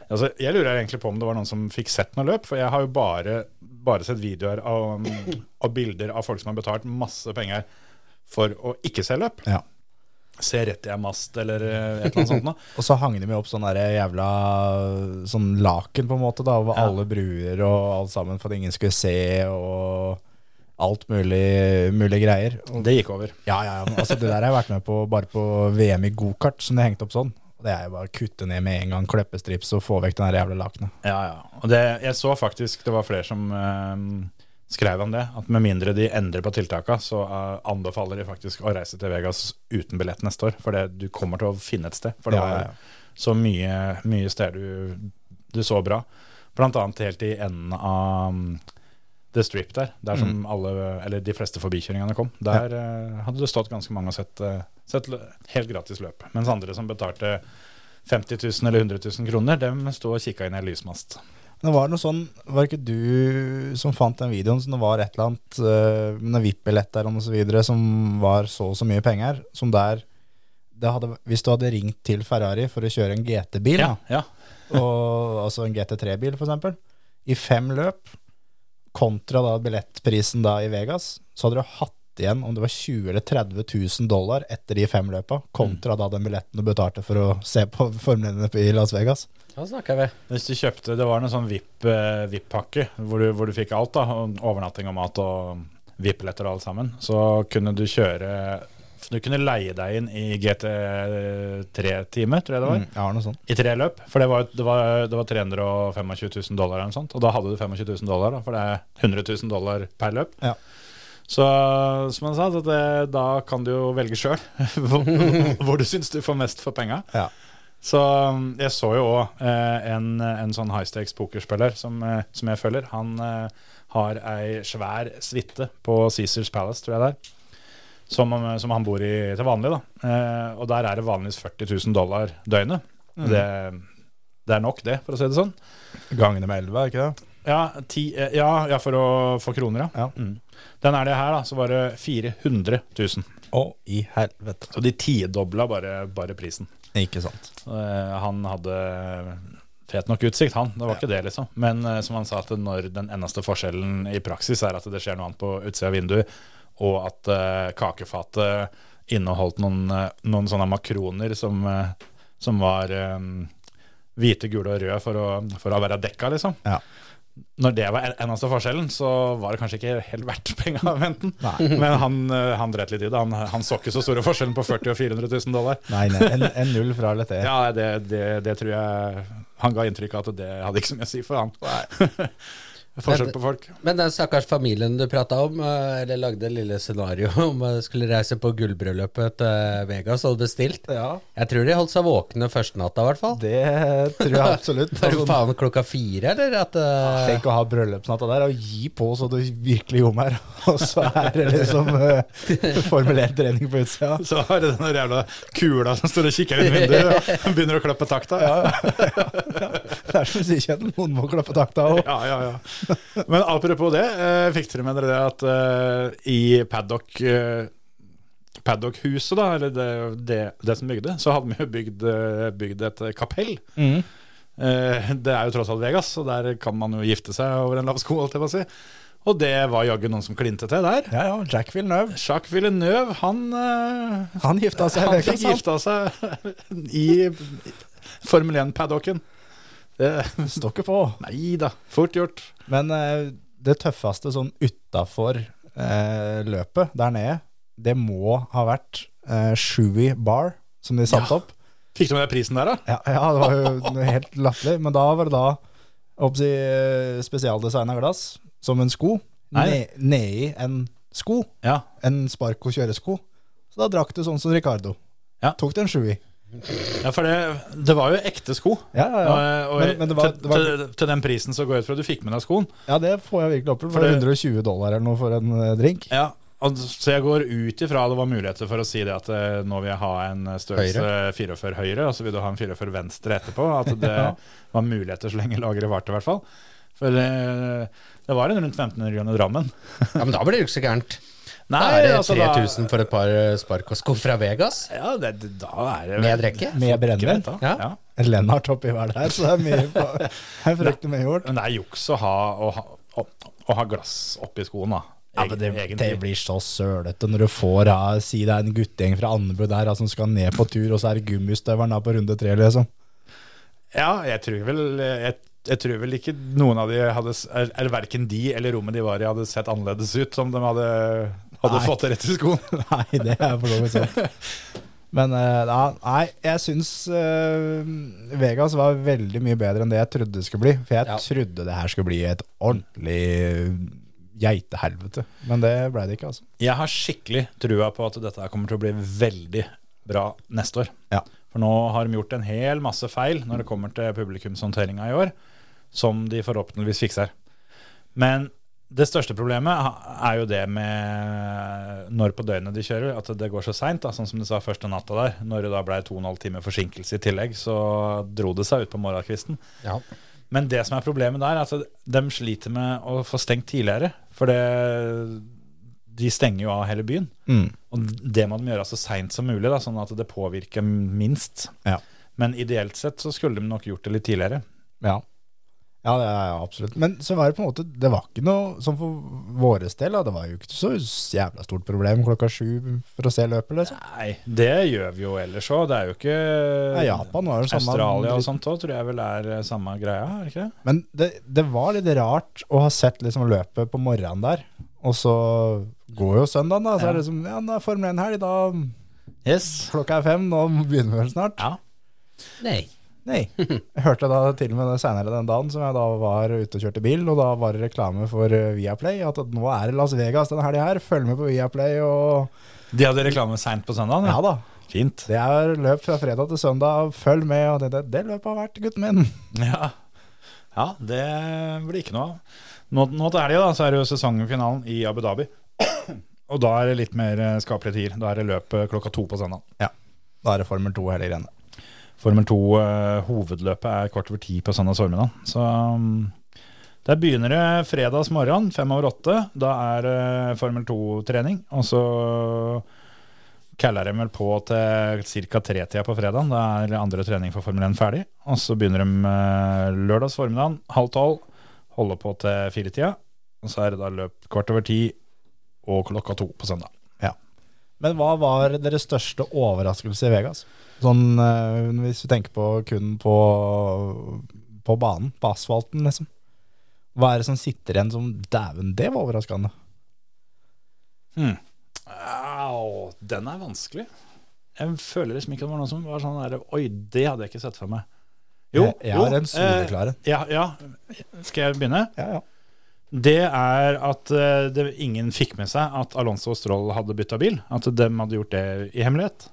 Speaker 3: Altså, jeg lurer egentlig på om det var noen som fikk sett noe løp, for jeg har jo bare, bare sett videoer av, av bilder av folk som har betalt masse penger for å ikke se løp.
Speaker 4: Ja.
Speaker 3: Se rett i en mast eller eh, et eller annet sånt noe.
Speaker 4: Og så hang de jo opp sånn der jævla sånn laken på en måte da, over
Speaker 3: Ja.
Speaker 4: alle bruer og alt sammen for at ingen skulle se og alt mulig, mulig greier. Og,
Speaker 3: Det gikk over.
Speaker 4: ja, ja, ja. men Altså, det der har jeg vært med på bare på VM i gokart som det hengte opp sånn. Og Det er jo bare å kutte ned med en gang, kleppestrips og få vekk den der jævla lakenet.
Speaker 3: Ja, ja. Og det, jeg så faktisk det var flere som eh, skrev om det, at med mindre de endrer på tiltaka, så eh, anbefaler de faktisk å reise til Vegas uten billett neste år. For det, du kommer til å finne et sted. For det
Speaker 4: Ja, ja,
Speaker 3: var
Speaker 4: ja.
Speaker 3: så mye, mye steder du, du så bra. Blant annet helt i enden av um, The Strip der, der som
Speaker 4: Mm.
Speaker 3: alle, eller de fleste forbikjøringene kom, der eh, hadde det stått ganske mange og sett, eh, sett lø- helt gratis løp. Mens andre som betalte 50 000 eller 100 000 kroner, dem sto og kikka inn i en lysmast.
Speaker 4: Men Det var noe sånn, var det ikke du som fant den videoen som det var et eller annet eh, med noen VIP-billetter eller noe så videre som var så og så mye penger, som der det hadde, Hvis du hadde ringt til Ferrari for å kjøre en GT-bil,
Speaker 3: Ja, ja.
Speaker 4: og, altså en GT3-bil f.eks., i fem løp, kontra da billettprisen da i Vegas, så hadde du hatt igjen om det var 20 000 eller 30 000 dollar etter de fem løpa, kontra da den billetten du betalte for å se på formlene i Las Vegas.
Speaker 5: Da snakker vi.
Speaker 3: Hvis du kjøpte, det var en sånn VIP, eh, VIP-pakke hvor, du- hvor du fikk alt da, og overnatting og mat og VIP-letter og alt sammen, så kunne du kjøre, du kunne leie deg inn i GT3-time, tror jeg det var,
Speaker 4: Mm, ja, noe sånt.
Speaker 3: i tre løp, for det var, det var, det var 325 000 dollar eller noe sånt, og da hadde du 25 000 dollar da, for det er 100 000 dollar per løp.
Speaker 4: Ja.
Speaker 3: Så som han sa, så det, da kan du jo velge sjøl hvor, hvor du syns du får mest for penga.
Speaker 4: Ja.
Speaker 3: Så um, jeg så jo òg eh, en, en sånn high stakes pokerspiller som, eh, som jeg følger. Han eh, har ei svær suite på Caesars Palace, tror jeg det er. Som, han- som han bor i til vanlig, da. Eh, og der er det vanligvis 40 000 dollar døgnet.
Speaker 4: Mm.
Speaker 3: Det, det er nok, det, for å si det sånn.
Speaker 4: Gangene med elleve, er ikke det?
Speaker 3: Ja, ti, eh, ja, ja for å få kroner, ja.
Speaker 4: Ja.
Speaker 3: Mm. Den er det her, da, så var det 400 000.
Speaker 4: Å, i helvete.
Speaker 3: Så de tidobla bare, bare prisen.
Speaker 4: Ikke sant.
Speaker 3: Så, eh, han hadde fet nok utsikt, han. Det var ikke det, liksom. Men eh, som han sa, at når den eneste forskjellen i praksis er at det skjer noe annet på utsida av vinduet, og at eh, kakefatet inneholdt noen, eh, noen sånne makroner som, eh, som var eh, hvite, gule og røde for å, for å være dekka, liksom.
Speaker 4: Ja.
Speaker 3: Når det var en- eneste forskjellen, så var det kanskje ikke helt verdt penga, venten.
Speaker 4: Nei.
Speaker 3: Men han, eh, han dreit litt i det. Han, han så ikke så store forskjellen på 40 000 og 400 000 dollar.
Speaker 4: Nei, nei, en, en null fra eller til.
Speaker 3: Ja, det, det, det tror jeg Han ga inntrykk av at det hadde ikke så mye å si for han. Forskjell på folk.
Speaker 5: Men den stakkars familien du prata om, eh, eller lagde det lille scenario om eh, skulle reise på gullbryllupet til eh, Vegas og hadde bestilt
Speaker 4: Ja.
Speaker 5: Jeg tror de holdt seg våkne første natta, i hvert fall.
Speaker 4: Det tror jeg absolutt.
Speaker 5: Var det
Speaker 4: Altså,
Speaker 5: faen klokka fire, eller? At, eh,
Speaker 4: Tenk å ha bryllupsnatta der og gi på så du virkelig gjorde her, og så er det liksom uh, formulert trening på utsida.
Speaker 3: Så har du den der jævla kula som står og kikker inn i vinduet og begynner å klappe takta. Ja,
Speaker 4: Det er som sykjeden, noen må klappe takta òg.
Speaker 3: ja, ja, Men apropos det, eh, fikk dere med dere det at eh, i paddock eh, Paddock-huset, da, eller det, det, det som bygde, så hadde vi jo bygd, eh, bygd et kapell. Eh, det er jo tross alt Vegas, og der kan man jo gifte seg over en lav sko, holdt jeg på å si. Og det var jaggu noen som klinte til der.
Speaker 4: Ja, ja, Jack Villeneuve.
Speaker 3: Jacques Villeneuve, han, eh,
Speaker 4: Han gifta seg.
Speaker 3: han
Speaker 4: i
Speaker 3: fikk
Speaker 4: Vegas,
Speaker 3: gifta seg i Formel 1-paddocken.
Speaker 4: han. Står ikke på.
Speaker 3: Nei da, fort gjort.
Speaker 4: Men eh, det tøffeste sånn utafor eh, løpet der nede, det må ha vært eh, Shui Bar, som de satte opp.
Speaker 3: Fikk du med deg prisen der, da?
Speaker 4: Ja, ja, det var jo noe helt latterlig. Men da var det da oppsi, spesialdesigna eh, glass som en sko.
Speaker 3: Nei.
Speaker 4: Nedi ne nedi en sko.
Speaker 3: Ja.
Speaker 4: En Sparco kjøresko. Så da drakk du sånn som Ricardo.
Speaker 3: Ja.
Speaker 4: Tok det en sju i.
Speaker 3: ja, for det, det var jo ekte sko.
Speaker 4: Ja, ja, ja.
Speaker 3: Og, og
Speaker 4: Men- men det var-
Speaker 3: eh, til,
Speaker 4: det var-
Speaker 3: til, til den prisen så går jeg ut fra at du fikk med deg skoen.
Speaker 4: ja, det får jeg virkelig opp for.
Speaker 3: For
Speaker 4: det er
Speaker 3: det-
Speaker 4: 120 dollar eller noe for en eh, drink.
Speaker 3: Ja, og, Så jeg går ut ifra det var muligheter for å si det at eh, nå vil jeg ha en størrelse 44 høyre, og så vil du ha en 44 venstre etterpå. At det var muligheter så lenge lageret varte, i hvert fall. For eh, det var en rundt 1500 kroner Drammen.
Speaker 5: ja, men da blir det jo ikke så gærent.
Speaker 3: Nei,
Speaker 5: Da er det
Speaker 3: altså, da-
Speaker 5: 3000 for et par eh, spark og sko fra Vegas.
Speaker 3: Ja, det, det- da er det
Speaker 5: Med drikke.
Speaker 4: Med brennevin.
Speaker 3: Greit, da.
Speaker 5: Ja.
Speaker 3: Ja.
Speaker 4: Lennart oppi hver der, så det er mye på- det er fryktelig mye gjort.
Speaker 3: Men det er juks å ha, å ha, å, å ha glass oppi skoen, da.
Speaker 4: Ja, men det,
Speaker 3: Egentlig.
Speaker 4: det blir så sølete når du får ja, Si det er en guttegjeng fra Andebu der ja, som skal ned på tur, og så er det gummistøvelen da på runde tre, liksom.
Speaker 3: Ja, jeg tror vel jeg, jeg tror vel ikke noen av de hadde s- Eller eller verken de eller rommet de var i, hadde sett annerledes ut som de hadde, hadde
Speaker 4: Nei.
Speaker 3: fått det rett i skoen.
Speaker 4: Nei, det er for så vidt sant. Men eh, ja, nei, jeg syns eh, Vegas var veldig mye bedre enn det jeg trodde det skulle bli. For jeg
Speaker 5: Ja.
Speaker 4: trodde det her skulle bli et ordentlig geitehelvete. Men det ble det ikke, altså.
Speaker 3: Jeg har skikkelig trua på at dette her kommer til å bli veldig bra neste år.
Speaker 4: Ja.
Speaker 3: For nå har de gjort en hel masse feil når det kommer til publikumshåndteringa i år, som de forhåpentligvis fikser. Men Det største problemet ha- er jo det med når på døgnet de kjører, at det går så seint. Sånn som du sa første natta der. Når det da ble to og en halv time forsinkelse i tillegg, så dro det seg ut på morgenkvisten.
Speaker 5: Ja.
Speaker 3: Men det som er problemet der, er at de sliter med å få stengt tidligere. For det, de stenger jo av hele byen.
Speaker 4: Mm.
Speaker 3: Og det må de gjøre så seint som mulig, da, sånn at det påvirker minst.
Speaker 4: Ja.
Speaker 3: Men ideelt sett så skulle de nok gjort det litt tidligere.
Speaker 4: Ja. ja, det er jeg absolutt. Men så var det på en måte Det var ikke noe sånn for våres del. Da. Det var jo ikke så jævla stort problem klokka sju for å se løpet, liksom.
Speaker 3: Nei, det gjør vi jo ellers òg. Det er jo ikke
Speaker 4: Ja, Japan var jo samme
Speaker 3: Australia og sånt òg tror jeg vel er eh, samme greia, er det ikke det?
Speaker 4: Men det, det var litt rart å ha sett liksom løpet på morgenen der. Og så går jo søndagen, da.
Speaker 3: Ja.
Speaker 4: Så er det liksom Ja, nå er Formel 1-helg, da
Speaker 3: Yes.
Speaker 4: klokka er fem, nå begynner vi vel snart.
Speaker 3: Ja.
Speaker 5: Nei.
Speaker 4: Nei. Jeg hørte da til og med det senere den dagen som jeg da var ute og kjørte bil, og da var det reklame for eh, Viaplay. At at nå er det Las Vegas denne helga her, følg med på Viaplay og
Speaker 3: De hadde reklame seint på søndagen?
Speaker 4: Ja da.
Speaker 3: Fint.
Speaker 4: Det er løp fra fredag til søndag, følg med. Og det, det, det løpet har vært, gutten min.
Speaker 3: Ja. ja, det blir ikke noe av. Nå, nå til helga da, så er det jo sesongfinalen i Abu Dhabi. Og da er det litt mer eh, skapelige tider. Da er det løpet klokka to på søndagen.
Speaker 4: Da er det Formel 2 hele greiene.
Speaker 3: Formel 2-hovedløpet er kvart over ti på søndag formiddag. Så um, der begynner det fredags morgen fem over åtte. Da er eh, Formel 2-trening. Og så kaller de vel på til ca. tretida på fredagen. Da er andre trening for Formel 1 ferdig. Og så begynner de eh, lørdags formiddag halv tolv. Holder på til firetida. Og så er det da løp kvart over ti og klokka to på søndag.
Speaker 4: Men hva var deres største overraskelse i Vegas? Sånn eh, hvis vi tenker på kun på, på banen, på asfalten, liksom. Hva er det som sitter igjen som Dæven, det var overraskende.
Speaker 3: Au, den er vanskelig. Jeg føler liksom ikke det var noen som var sånn der Oi, det hadde jeg ikke sett for meg. Jo,
Speaker 4: Jeg- jeg
Speaker 3: jo,
Speaker 4: har en soleklar en.
Speaker 3: eh, ja, ja. Skal jeg begynne?
Speaker 4: Ja, ja.
Speaker 3: Det er at eh, det, ingen fikk med seg at Alonso og Stroll hadde bytta bil. At de hadde gjort det i hemmelighet.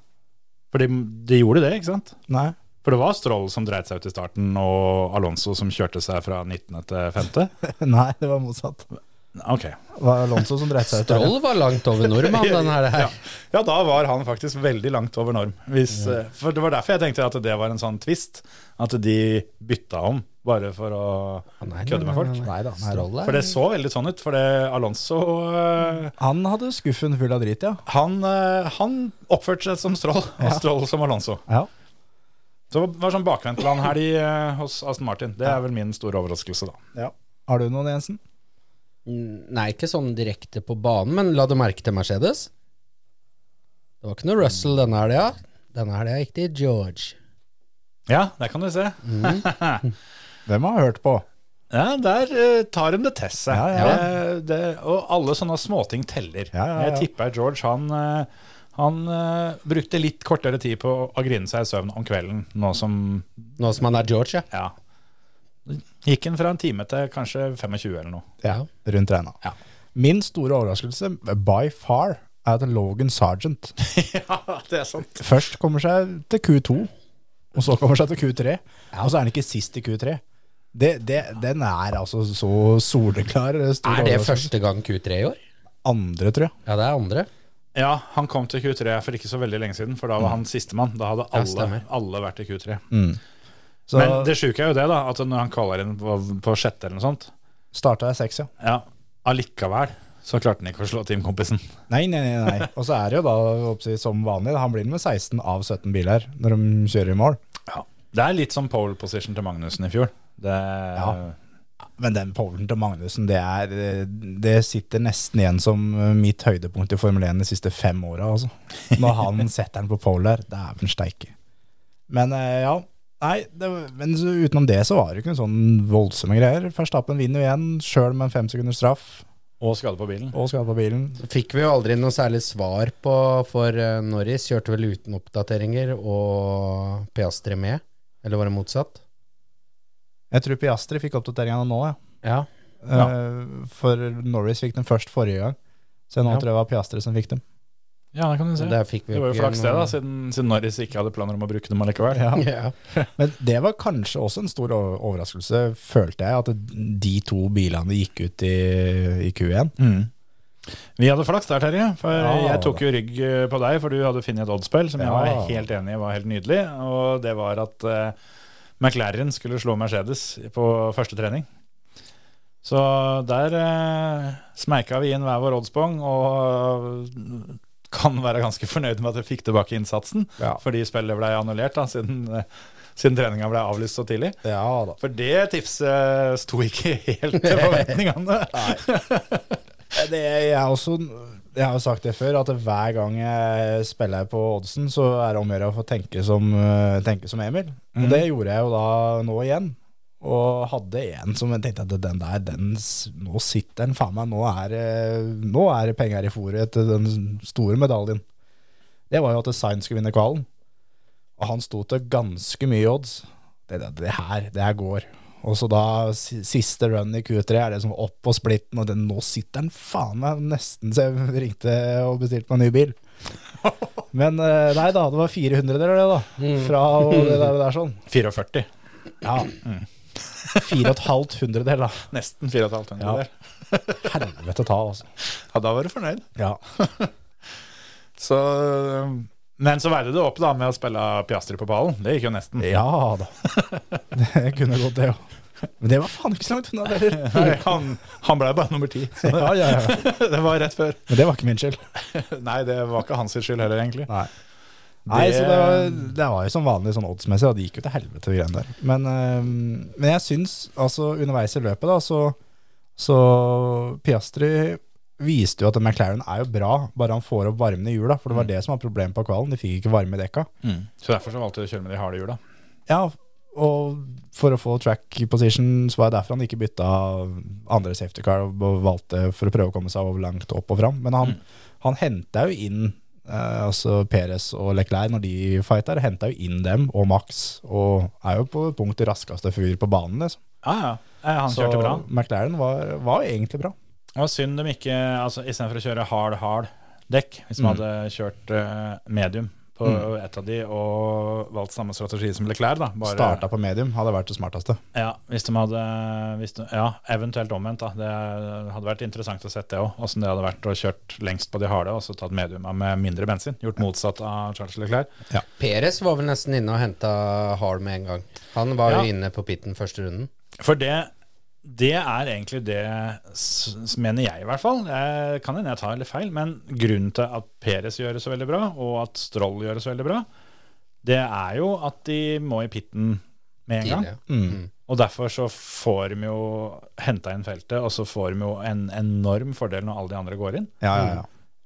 Speaker 3: For de, de gjorde det, ikke sant?
Speaker 4: Nei.
Speaker 3: For det var Stroll som dreit seg ut i starten, og Alonso som kjørte seg fra 19. til 5.
Speaker 4: Nei, det var motsatt.
Speaker 3: Ok.
Speaker 4: Det var Alonso som dreit seg ut.
Speaker 5: Stroll var langt over nordmann, den her.
Speaker 3: Ja. ja, da var han faktisk veldig langt over norm. Hvis, eh, For Det var derfor jeg tenkte at det var en sånn twist. At de bytta om bare for å
Speaker 5: Nei,
Speaker 3: kødde med
Speaker 5: nei,
Speaker 3: folk.
Speaker 5: nei, nei.
Speaker 4: Nei da, nei da.
Speaker 5: Stroll er
Speaker 3: For det så veldig sånn ut. For det Alonso eh,
Speaker 4: Han hadde skuffen full av drit, ja.
Speaker 3: han, eh, han oppførte seg som Stroll, og Stroll som Alonso.
Speaker 4: ja.
Speaker 3: Så det var sånn bakvendtland-helg eh, hos Aston Martin. Det er vel min store overraskelse, da.
Speaker 4: Har du noen, Jensen?
Speaker 5: Nei, ikke sånn direkte på banen, men la du merke til Mercedes? Det var ikke noe Russell denne helga. Denne helga gikk det i George.
Speaker 3: Ja, der kan du se.
Speaker 4: Hvem har hørt på?
Speaker 3: Ja, Der eh, tar de det til seg.
Speaker 4: Ja, ja.
Speaker 3: Eh, det, og alle sånne småting teller.
Speaker 4: Ja, ja, ja.
Speaker 3: Jeg tipper George han, eh, han eh, brukte litt kortere tid på å grine seg i søvn om kvelden, nå som
Speaker 5: Nå som han er George, ja.
Speaker 3: ja. Gikk han fra en time til kanskje 25 eller noe.
Speaker 5: Ja.
Speaker 4: Rundt regna.
Speaker 3: Ja.
Speaker 4: Min store overraskelse, by far, er at Logan Sergeant
Speaker 3: ja, det er sant.
Speaker 4: først kommer seg til Q2, og så kommer seg til Q3, og så er han ikke sist i Q3. Det, det, den er altså så soleklar. stor
Speaker 5: Er det
Speaker 4: overraskelse.
Speaker 5: første gang Q3 i år?
Speaker 4: Andre, tror jeg.
Speaker 5: Ja, det er andre.
Speaker 3: Ja, han kom til Q3 for ikke så veldig lenge siden, for da var han sistemann. Da hadde
Speaker 5: Ja,
Speaker 3: alle,
Speaker 5: stemmer.
Speaker 3: alle vært i Q3.
Speaker 4: Så
Speaker 3: Men det sjuke er jo det, da, at når han kaller inn på, på sjette eller noe sånt,
Speaker 4: starta jeg seks, ja.
Speaker 3: ja, allikevel så klarte han ikke å slå teamkompisen.
Speaker 4: Nei, nei, nei. nei. Og så er det jo da oppsi, som vanlig, da, han blir med 16 av 17 biler når de kjører i mål.
Speaker 3: Det er litt som pole position til Magnussen i fjor. Det,
Speaker 4: Men den polen til Magnussen, det, er, det sitter nesten igjen som eh, mitt høydepunkt i Formel 1 de siste fem åra. Altså. Når han setter den på pole der, dæven steike. Men eh, ja. Nei, det, men så, utenom det så var det ikke noen sånn voldsomme greier. Verstappen vinner jo igjen, sjøl med en fem sekunders straff
Speaker 3: Og skade på bilen.
Speaker 4: og skade på bilen.
Speaker 5: Fikk vi jo aldri noe særlig svar på, for eh, Norris kjørte vel uten oppdateringer, og Piastri med. Eller var det motsatt?
Speaker 4: Jeg tror Piastri fikk oppdateringa nå, ja.
Speaker 5: Ja.
Speaker 4: Eh, For Norris fikk den først forrige gang. Så nå
Speaker 5: Ja.
Speaker 4: tror jeg det var Piastri som fikk dem.
Speaker 3: Ja, det kan du si.
Speaker 5: Der fikk vi
Speaker 3: Det var jo
Speaker 5: ikke
Speaker 3: flaks det, da,
Speaker 5: noe-
Speaker 3: siden, siden Norris ikke hadde planer om å bruke dem allikevel.
Speaker 4: Ja.
Speaker 5: Ja.
Speaker 4: Men det var kanskje også en stor o- overraskelse, følte jeg, at de to bilene gikk ut i, i Q1.
Speaker 3: Mm. Vi hadde flaks der, Terje. For
Speaker 4: Ja,
Speaker 3: jeg tok jo rygg eh, på deg, for du hadde funnet et oddspill som jeg
Speaker 4: Ja.
Speaker 3: var helt enig i var helt nydelig. Og det var at eh, McLaren skulle slå Mercedes på første trening. Så der eh, smeika vi inn hver vår oddspong, og eh, kan være ganske fornøyd med at jeg fikk tilbake innsatsen,
Speaker 4: Ja.
Speaker 3: fordi spillet ble annullert da, siden, eh, siden treninga ble avlyst så tidlig.
Speaker 4: Ja da.
Speaker 3: For det tipset sto ikke helt til forventningene.
Speaker 4: Eh, Det, jeg, er også, jeg har jo sagt det før, at hver gang jeg spiller på oddsen, så er det om å gjøre å få tenke som, eh, tenke som Emil. Og det gjorde jeg jo da nå igjen. Og hadde en som jeg tenkte at den der, den, s- nå sitter den, faen meg, nå er, det- nå er det penger i fôret etter den store medaljen. Det var jo at Sainz skulle vinne kvalen. Og han sto til ganske mye odds. Det, det, det her, det her går. Og så da si- siste run i Q3 er det som opp på splitten, og den, nå sitter den faen meg nesten så jeg ringte og bestilte meg en ny bil. Men eh, nei da, det var 400 eller det, da. Fra og det der, det der sånn.
Speaker 3: 44.
Speaker 4: Mm. Ja. Fire og et halvt hundredel, da.
Speaker 3: Nesten 4,5 tonn.
Speaker 4: Ja.
Speaker 3: der.
Speaker 4: Helvete ta, altså.
Speaker 3: ja, da var du fornøyd.
Speaker 4: Ja.
Speaker 3: Så, øhm, men så veide du opp da med å spille Piastri på pallen. Det gikk jo nesten.
Speaker 4: ja da. Det kunne gått, det òg. Men det var faen ikke så langt unna, det heller.
Speaker 3: Nei, han han ble bare nummer ti. Så
Speaker 4: Ja, ja, ja.
Speaker 3: det var rett før.
Speaker 4: Men det var ikke min skyld.
Speaker 3: Nei, det var ikke hans skyld heller, egentlig.
Speaker 4: Nei. Nei, så det var, det var jo som vanlig sånn oddsmessig, og det gikk jo til helvete de greiene der. Men, eh, men jeg syns, altså underveis i løpet da, så, så Piastri viste jo at McLaren er jo bra, bare han får opp varmen i hjula, for det var det som var problemet på kvalen, de fikk ikke varme i dekka.
Speaker 3: Så derfor så valgte du å kjøre med de harde hjula.
Speaker 4: Ja, og for å få track position, så var det derfor han ikke bytta andre safety car og valgte for å prøve å komme seg over langt opp og fram. Men han,
Speaker 3: Mm.
Speaker 4: han henta jo inn eh, altså Perez og Leclerc når de fighter, henta jo inn dem og Max, og er jo på punktet raskeste fyr på banen. Liksom.
Speaker 3: Ja, ja. Eh, Han
Speaker 4: Så
Speaker 3: kjørte bra.
Speaker 4: McLaren var, var egentlig bra.
Speaker 3: Det var synd de ikke altså, Istedenfor å kjøre hard, hard dekk, hvis de hadde kjørt eh, medium på ett av de og valgt samme strategi som Leclerc, da. Bare,
Speaker 4: Starta på medium, hadde vært det smarteste.
Speaker 3: Ja, hvis de hadde hvis de, Ja, eventuelt omvendt, da. Det hadde vært interessant å sett det òg. Åssen det hadde vært å kjørt lengst på de harde og så tatt mediuma med mindre bensin. Gjort motsatt av Charles Leclerc.
Speaker 5: Peres var vel nesten inne og henta Hall med en gang. Han var
Speaker 3: Ja.
Speaker 5: jo inne på pitten første runden.
Speaker 3: For det det er egentlig det, s- s- mener jeg i hvert fall. Jeg kan hende jeg tar litt feil, men grunnen til at Peres gjør det så veldig bra, og at Stroll gjør det så veldig bra, det er jo at de må i pitten med en gang. Mm.
Speaker 5: tidligere.
Speaker 3: Og derfor så får de jo henta inn feltet, og så får de jo en enorm fordel når alle de andre går inn.
Speaker 4: Ja, ja,
Speaker 3: Mm.
Speaker 4: ja.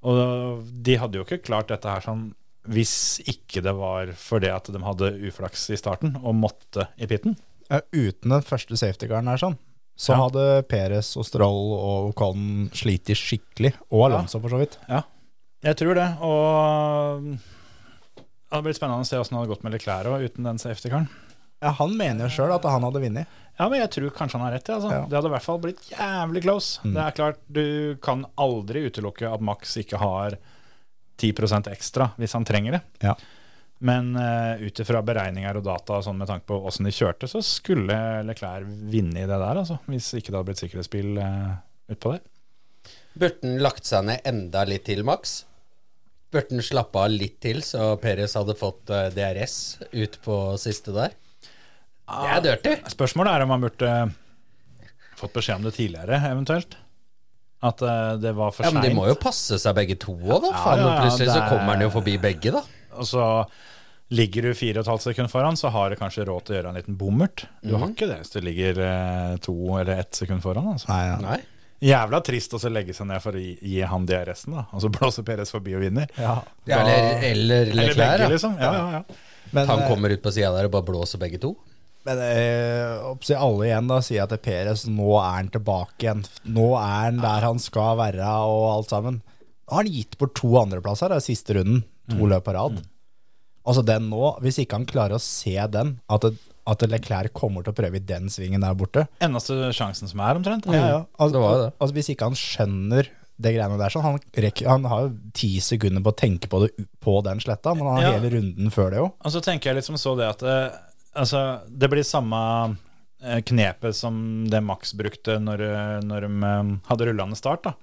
Speaker 3: Og de hadde jo ikke klart dette her sånn hvis ikke det var fordi at de hadde uflaks i starten og måtte i pitten.
Speaker 4: Ja, uten den første safety-garden her, sånn, så
Speaker 3: Ja.
Speaker 4: hadde Perez og Stroll og Colin slitt skikkelig. Og Alonso, for så vidt.
Speaker 3: Jeg tror det, og det hadde blitt spennende å se åssen det hadde gått med Leclerc òg, uten den safety-karen.
Speaker 4: Ja, Han mener jo sjøl at han hadde vunnet.
Speaker 3: Ja, men jeg tror kanskje han har rett. Ja, altså.
Speaker 4: Ja. Mm.
Speaker 3: Det hadde i hvert fall blitt jævlig close. Det er klart, Du kan aldri utelukke at Max ikke har 10 ekstra hvis han trenger det.
Speaker 4: Ja.
Speaker 3: Men uh, ut ifra beregninger og data og sånn med tanke på åssen de kjørte, så skulle Leclerc vinne i det der, altså. Hvis ikke det hadde blitt sikkerhetsspill uh, utpå der.
Speaker 5: Burde han lagt seg ned enda litt til, Max? Burde han slappe av litt til, så Peres hadde fått eh, DRS ut på siste der? Det er dirty.
Speaker 3: Spørsmålet er om han burde eh, fått beskjed om det tidligere, eventuelt. At eh, det var for
Speaker 5: Ja, men
Speaker 3: seint.
Speaker 5: de må jo passe seg begge to òg, da. Faen,
Speaker 3: ja, ja,
Speaker 5: plutselig så
Speaker 3: det er-
Speaker 5: kommer han jo forbi begge, da.
Speaker 3: Og så ligger du fire og et halvt sekund foran, så har du kanskje råd til å gjøre en liten bommert. Du har ikke det hvis du ligger eh, to eller ett sekund foran. Altså.
Speaker 4: Nei, ja.
Speaker 5: Nei.
Speaker 3: Jævla trist å så legge seg ned for å gi, gi han DRS-en, da. Og så blåser Perez forbi og vinner.
Speaker 5: Ja, eller eller
Speaker 3: Eller
Speaker 5: Leclerc.
Speaker 3: begge,
Speaker 5: da.
Speaker 3: liksom. eh, Ja, ja, ja.
Speaker 4: Men, eh,
Speaker 5: Han kommer ut på sida der og bare blåser begge to.
Speaker 4: men eh, oppsi alle igjen da sier at det er Perez nå er han tilbake igjen. Nå er han der han skal være og alt sammen. Nå har han gitt bort to andreplasser da, i siste runden. To
Speaker 5: Mm.
Speaker 4: løp på rad. Altså den nå, hvis ikke han klarer å se den, at, det, at Leclerc kommer til å prøve i den svingen der borte
Speaker 3: Eneste sjansen som er, omtrent.
Speaker 4: Ja, ja. Altså,
Speaker 5: Det var jo det.
Speaker 4: altså, hvis ikke han skjønner det greiene der, sånn, han, rekker, han har jo ti sekunder på å tenke på det u- på den sletta, men han har
Speaker 3: Ja.
Speaker 4: hele runden før det jo.
Speaker 3: Og så tenker jeg litt som så det at eh, altså, det blir samme eh, knepet som det Max brukte når, eh, når de eh, hadde rullende start. da.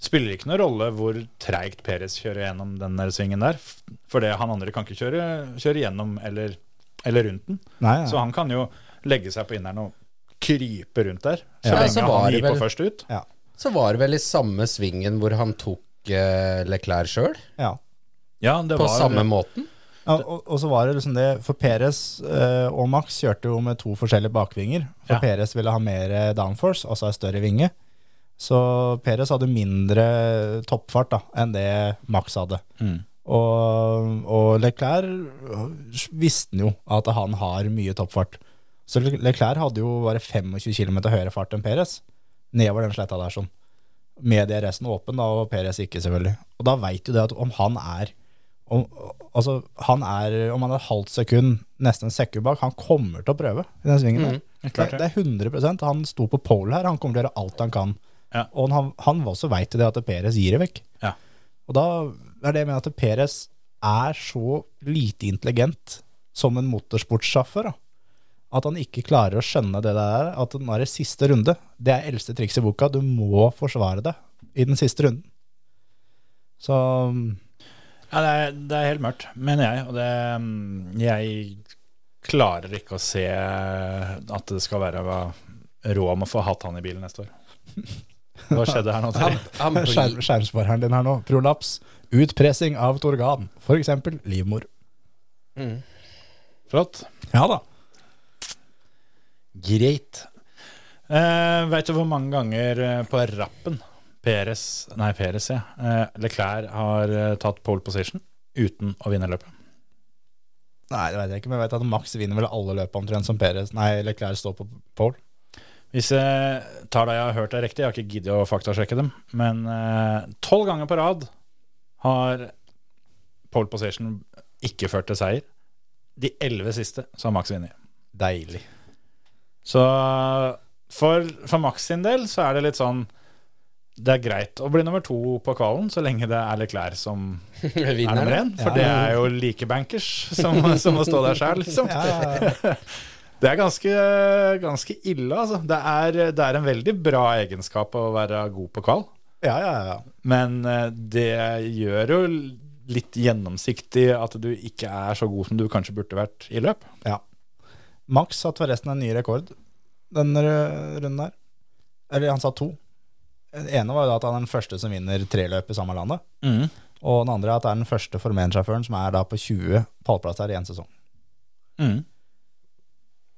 Speaker 3: Spiller ikke noen rolle hvor treigt Peres kjører gjennom den der svingen der, f- for det han andre kan ikke kjøre, kjøre gjennom eller, eller rundt den.
Speaker 4: Nei, nei.
Speaker 3: Så han kan jo legge seg på inneren og krype rundt der, så
Speaker 5: Ja,
Speaker 3: lenge
Speaker 5: så var
Speaker 3: han
Speaker 5: det
Speaker 3: gir på
Speaker 5: vel-
Speaker 3: først ut.
Speaker 4: Ja.
Speaker 5: Så var det vel i samme svingen hvor han tok eh, Leclerc sjøl,
Speaker 4: ja.
Speaker 3: Ja, det
Speaker 5: på
Speaker 3: var-
Speaker 5: samme måten.
Speaker 4: Ja, og, og så var det liksom det, for Peres eh, og Max kjørte jo med to forskjellige bakvinger. For
Speaker 3: Ja.
Speaker 4: Peres ville ha mer eh, downforce, altså en større vinge. Så Peres hadde mindre toppfart da, enn det Max hadde.
Speaker 3: Mm.
Speaker 4: Og, og Leclerc øh, visste jo at han har mye toppfart. Så Le- Leclerc hadde jo bare 25 km høyere fart enn Peres nedover den sletta der. sånn. Med DRS-en åpen, da, og Peres ikke, selvfølgelig. Og da veit du det at om han er om, altså, han er, om han er et halvt sekund, nesten en sekund bak, han kommer til å prøve i den svingen der. det,
Speaker 3: Mm, klart det.
Speaker 4: det er 100 Han sto på pole her, han kommer til å gjøre alt han kan.
Speaker 3: Ja.
Speaker 4: Og han, han også veit det at Peres gir det vekk.
Speaker 3: Ja.
Speaker 4: Og da er det jeg mener at Peres er så lite intelligent som en motorsportsjåfør. da. At han ikke klarer å skjønne det der, at nå er det siste runde. Det er eldste triks i boka. Du må forsvare deg i den siste runden. Så um,
Speaker 3: Ja, det er, det er helt mørkt, mener jeg. Og det, mm, jeg klarer ikke å se eh, at det skal være hva- råd om å få hatt han i bilen neste år. Hva skjedde her nå?
Speaker 5: Han,
Speaker 3: Terje?
Speaker 5: han blir,
Speaker 4: skjerm, skjermspareren din her nå, prolaps, utpressing av et organ, f.eks. livmor.
Speaker 3: Flott.
Speaker 4: Ja da.
Speaker 3: Greit. Eh, Veit du hvor mange ganger eh, på rappen Peres, nei Peres, ja. Eh, Leclerc har eh, tatt pole position uten å vinne løpet?
Speaker 4: Nei, det vet jeg ikke, men jeg vet at Max vinner vel alle løpene omtrent som Perez. Nei, Leclerc står på pole.
Speaker 3: Hvis jeg tar det jeg har hørt er riktig, jeg har ikke giddet å faktasjekke dem, men eh, tolv ganger på rad har pole position ikke ført til seier. De elleve siste så har Max vunnet.
Speaker 4: Deilig.
Speaker 3: Så for, for Max sin del så er det litt sånn Det er greit å bli nummer to på kvalen så lenge det er Leclerc som er
Speaker 5: vinner
Speaker 3: nummer
Speaker 5: det.
Speaker 3: én, for
Speaker 4: Ja.
Speaker 3: det er jo like bankers som, som å stå der sjæl, liksom.
Speaker 4: Ja, ja, ja.
Speaker 3: Det er ganske, ganske ille, altså. Det er, det er en veldig bra egenskap å være god på kval,
Speaker 4: Ja, ja, ja.
Speaker 3: men eh, det gjør jo litt gjennomsiktig at du ikke er så god som du kanskje burde vært i løp.
Speaker 4: Ja. Max satt forresten en ny rekord denne ru- runden her. Eller han satt to. Den ene var jo da at han er den første som vinner tre løp i samme landet. Og den andre er at det er den første Formel 1-sjåføren som er da på 20 pallplasser i én sesong.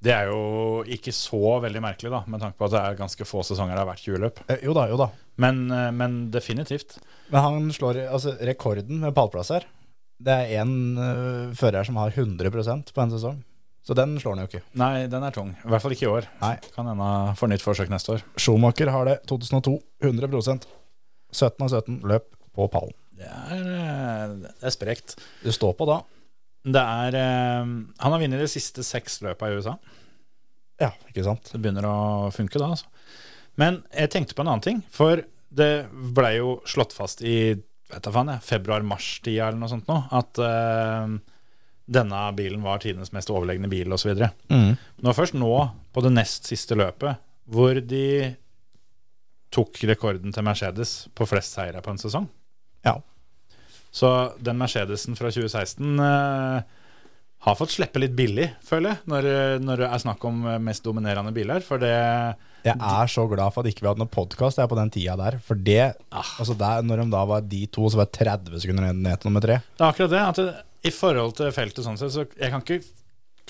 Speaker 3: Det er jo ikke så veldig merkelig, da, med tanke på at det er ganske få sesonger det har vært 20 løp.
Speaker 4: Eh, jo da, jo da.
Speaker 3: Men, eh, men definitivt.
Speaker 4: Men han slår altså, rekorden med pallplasser. Det er én øh, fører som har 100 på en sesong. Så den slår han jo ikke.
Speaker 3: Nei, den er tung. I hvert fall ikke i år.
Speaker 4: Nei.
Speaker 3: Kan hende får nytt forsøk neste år.
Speaker 4: Schumacher har det 2002. 100 17 av 17 løp på pallen.
Speaker 3: Det er, eh, det er sprekt.
Speaker 4: Du står på da.
Speaker 3: Det er eh, Han har vunnet de siste seks løpa i USA.
Speaker 4: Ja, ikke sant?
Speaker 3: Så det begynner å funke da, altså. Men jeg tenkte på en annen ting. For det blei jo slått fast i vet da faen jeg, februar-mars-tida eller noe sånt nå, at eh, denne bilen var tidenes mest overlegne bil osv.
Speaker 4: Mm.
Speaker 3: Nå først nå, på det nest siste løpet, hvor de tok rekorden til Mercedes på flest seire på en sesong.
Speaker 4: Ja.
Speaker 3: Så den Mercedesen fra 2016 eh, har fått slippe litt billig, føler jeg, når, eh, når det er snakk om eh, mest dominerende biler. For det
Speaker 4: Jeg er så glad for at ikke vi hadde noen podkast på den tida der. For det, altså der, når de da var de to, så var det 30 sekunder ned ned til nummer tre.
Speaker 3: Det er akkurat det. at det, I forhold til feltet sånn sett, så jeg kan ikke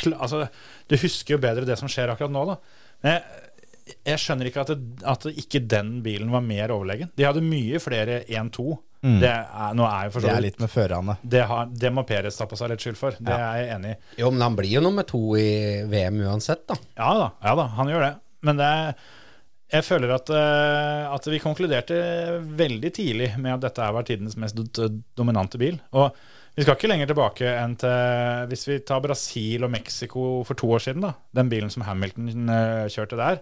Speaker 3: kla- Altså, du husker jo bedre det som skjer akkurat nå, da. Men jeg, jeg skjønner ikke at, det, at det ikke den bilen var mer overlegen. De hadde mye flere 1-2. Det er, nå er jo for
Speaker 4: Mm. Det
Speaker 3: så
Speaker 4: er
Speaker 3: vidt
Speaker 4: litt med førerne.
Speaker 3: det, har, det må Peres ta på seg litt skyld for. Det er jeg enig i.
Speaker 5: Jo, men han blir jo nummer to i VM uansett, da.
Speaker 3: Ja da, ja da, han gjør det. Men det er, jeg føler at, eh, at vi konkluderte veldig tidlig med at dette her var tidenes mest do- dominante bil. Og vi skal ikke lenger tilbake enn til Hvis vi tar Brasil og Mexico for to år siden, da. Den bilen som Hamilton eh, kjørte der.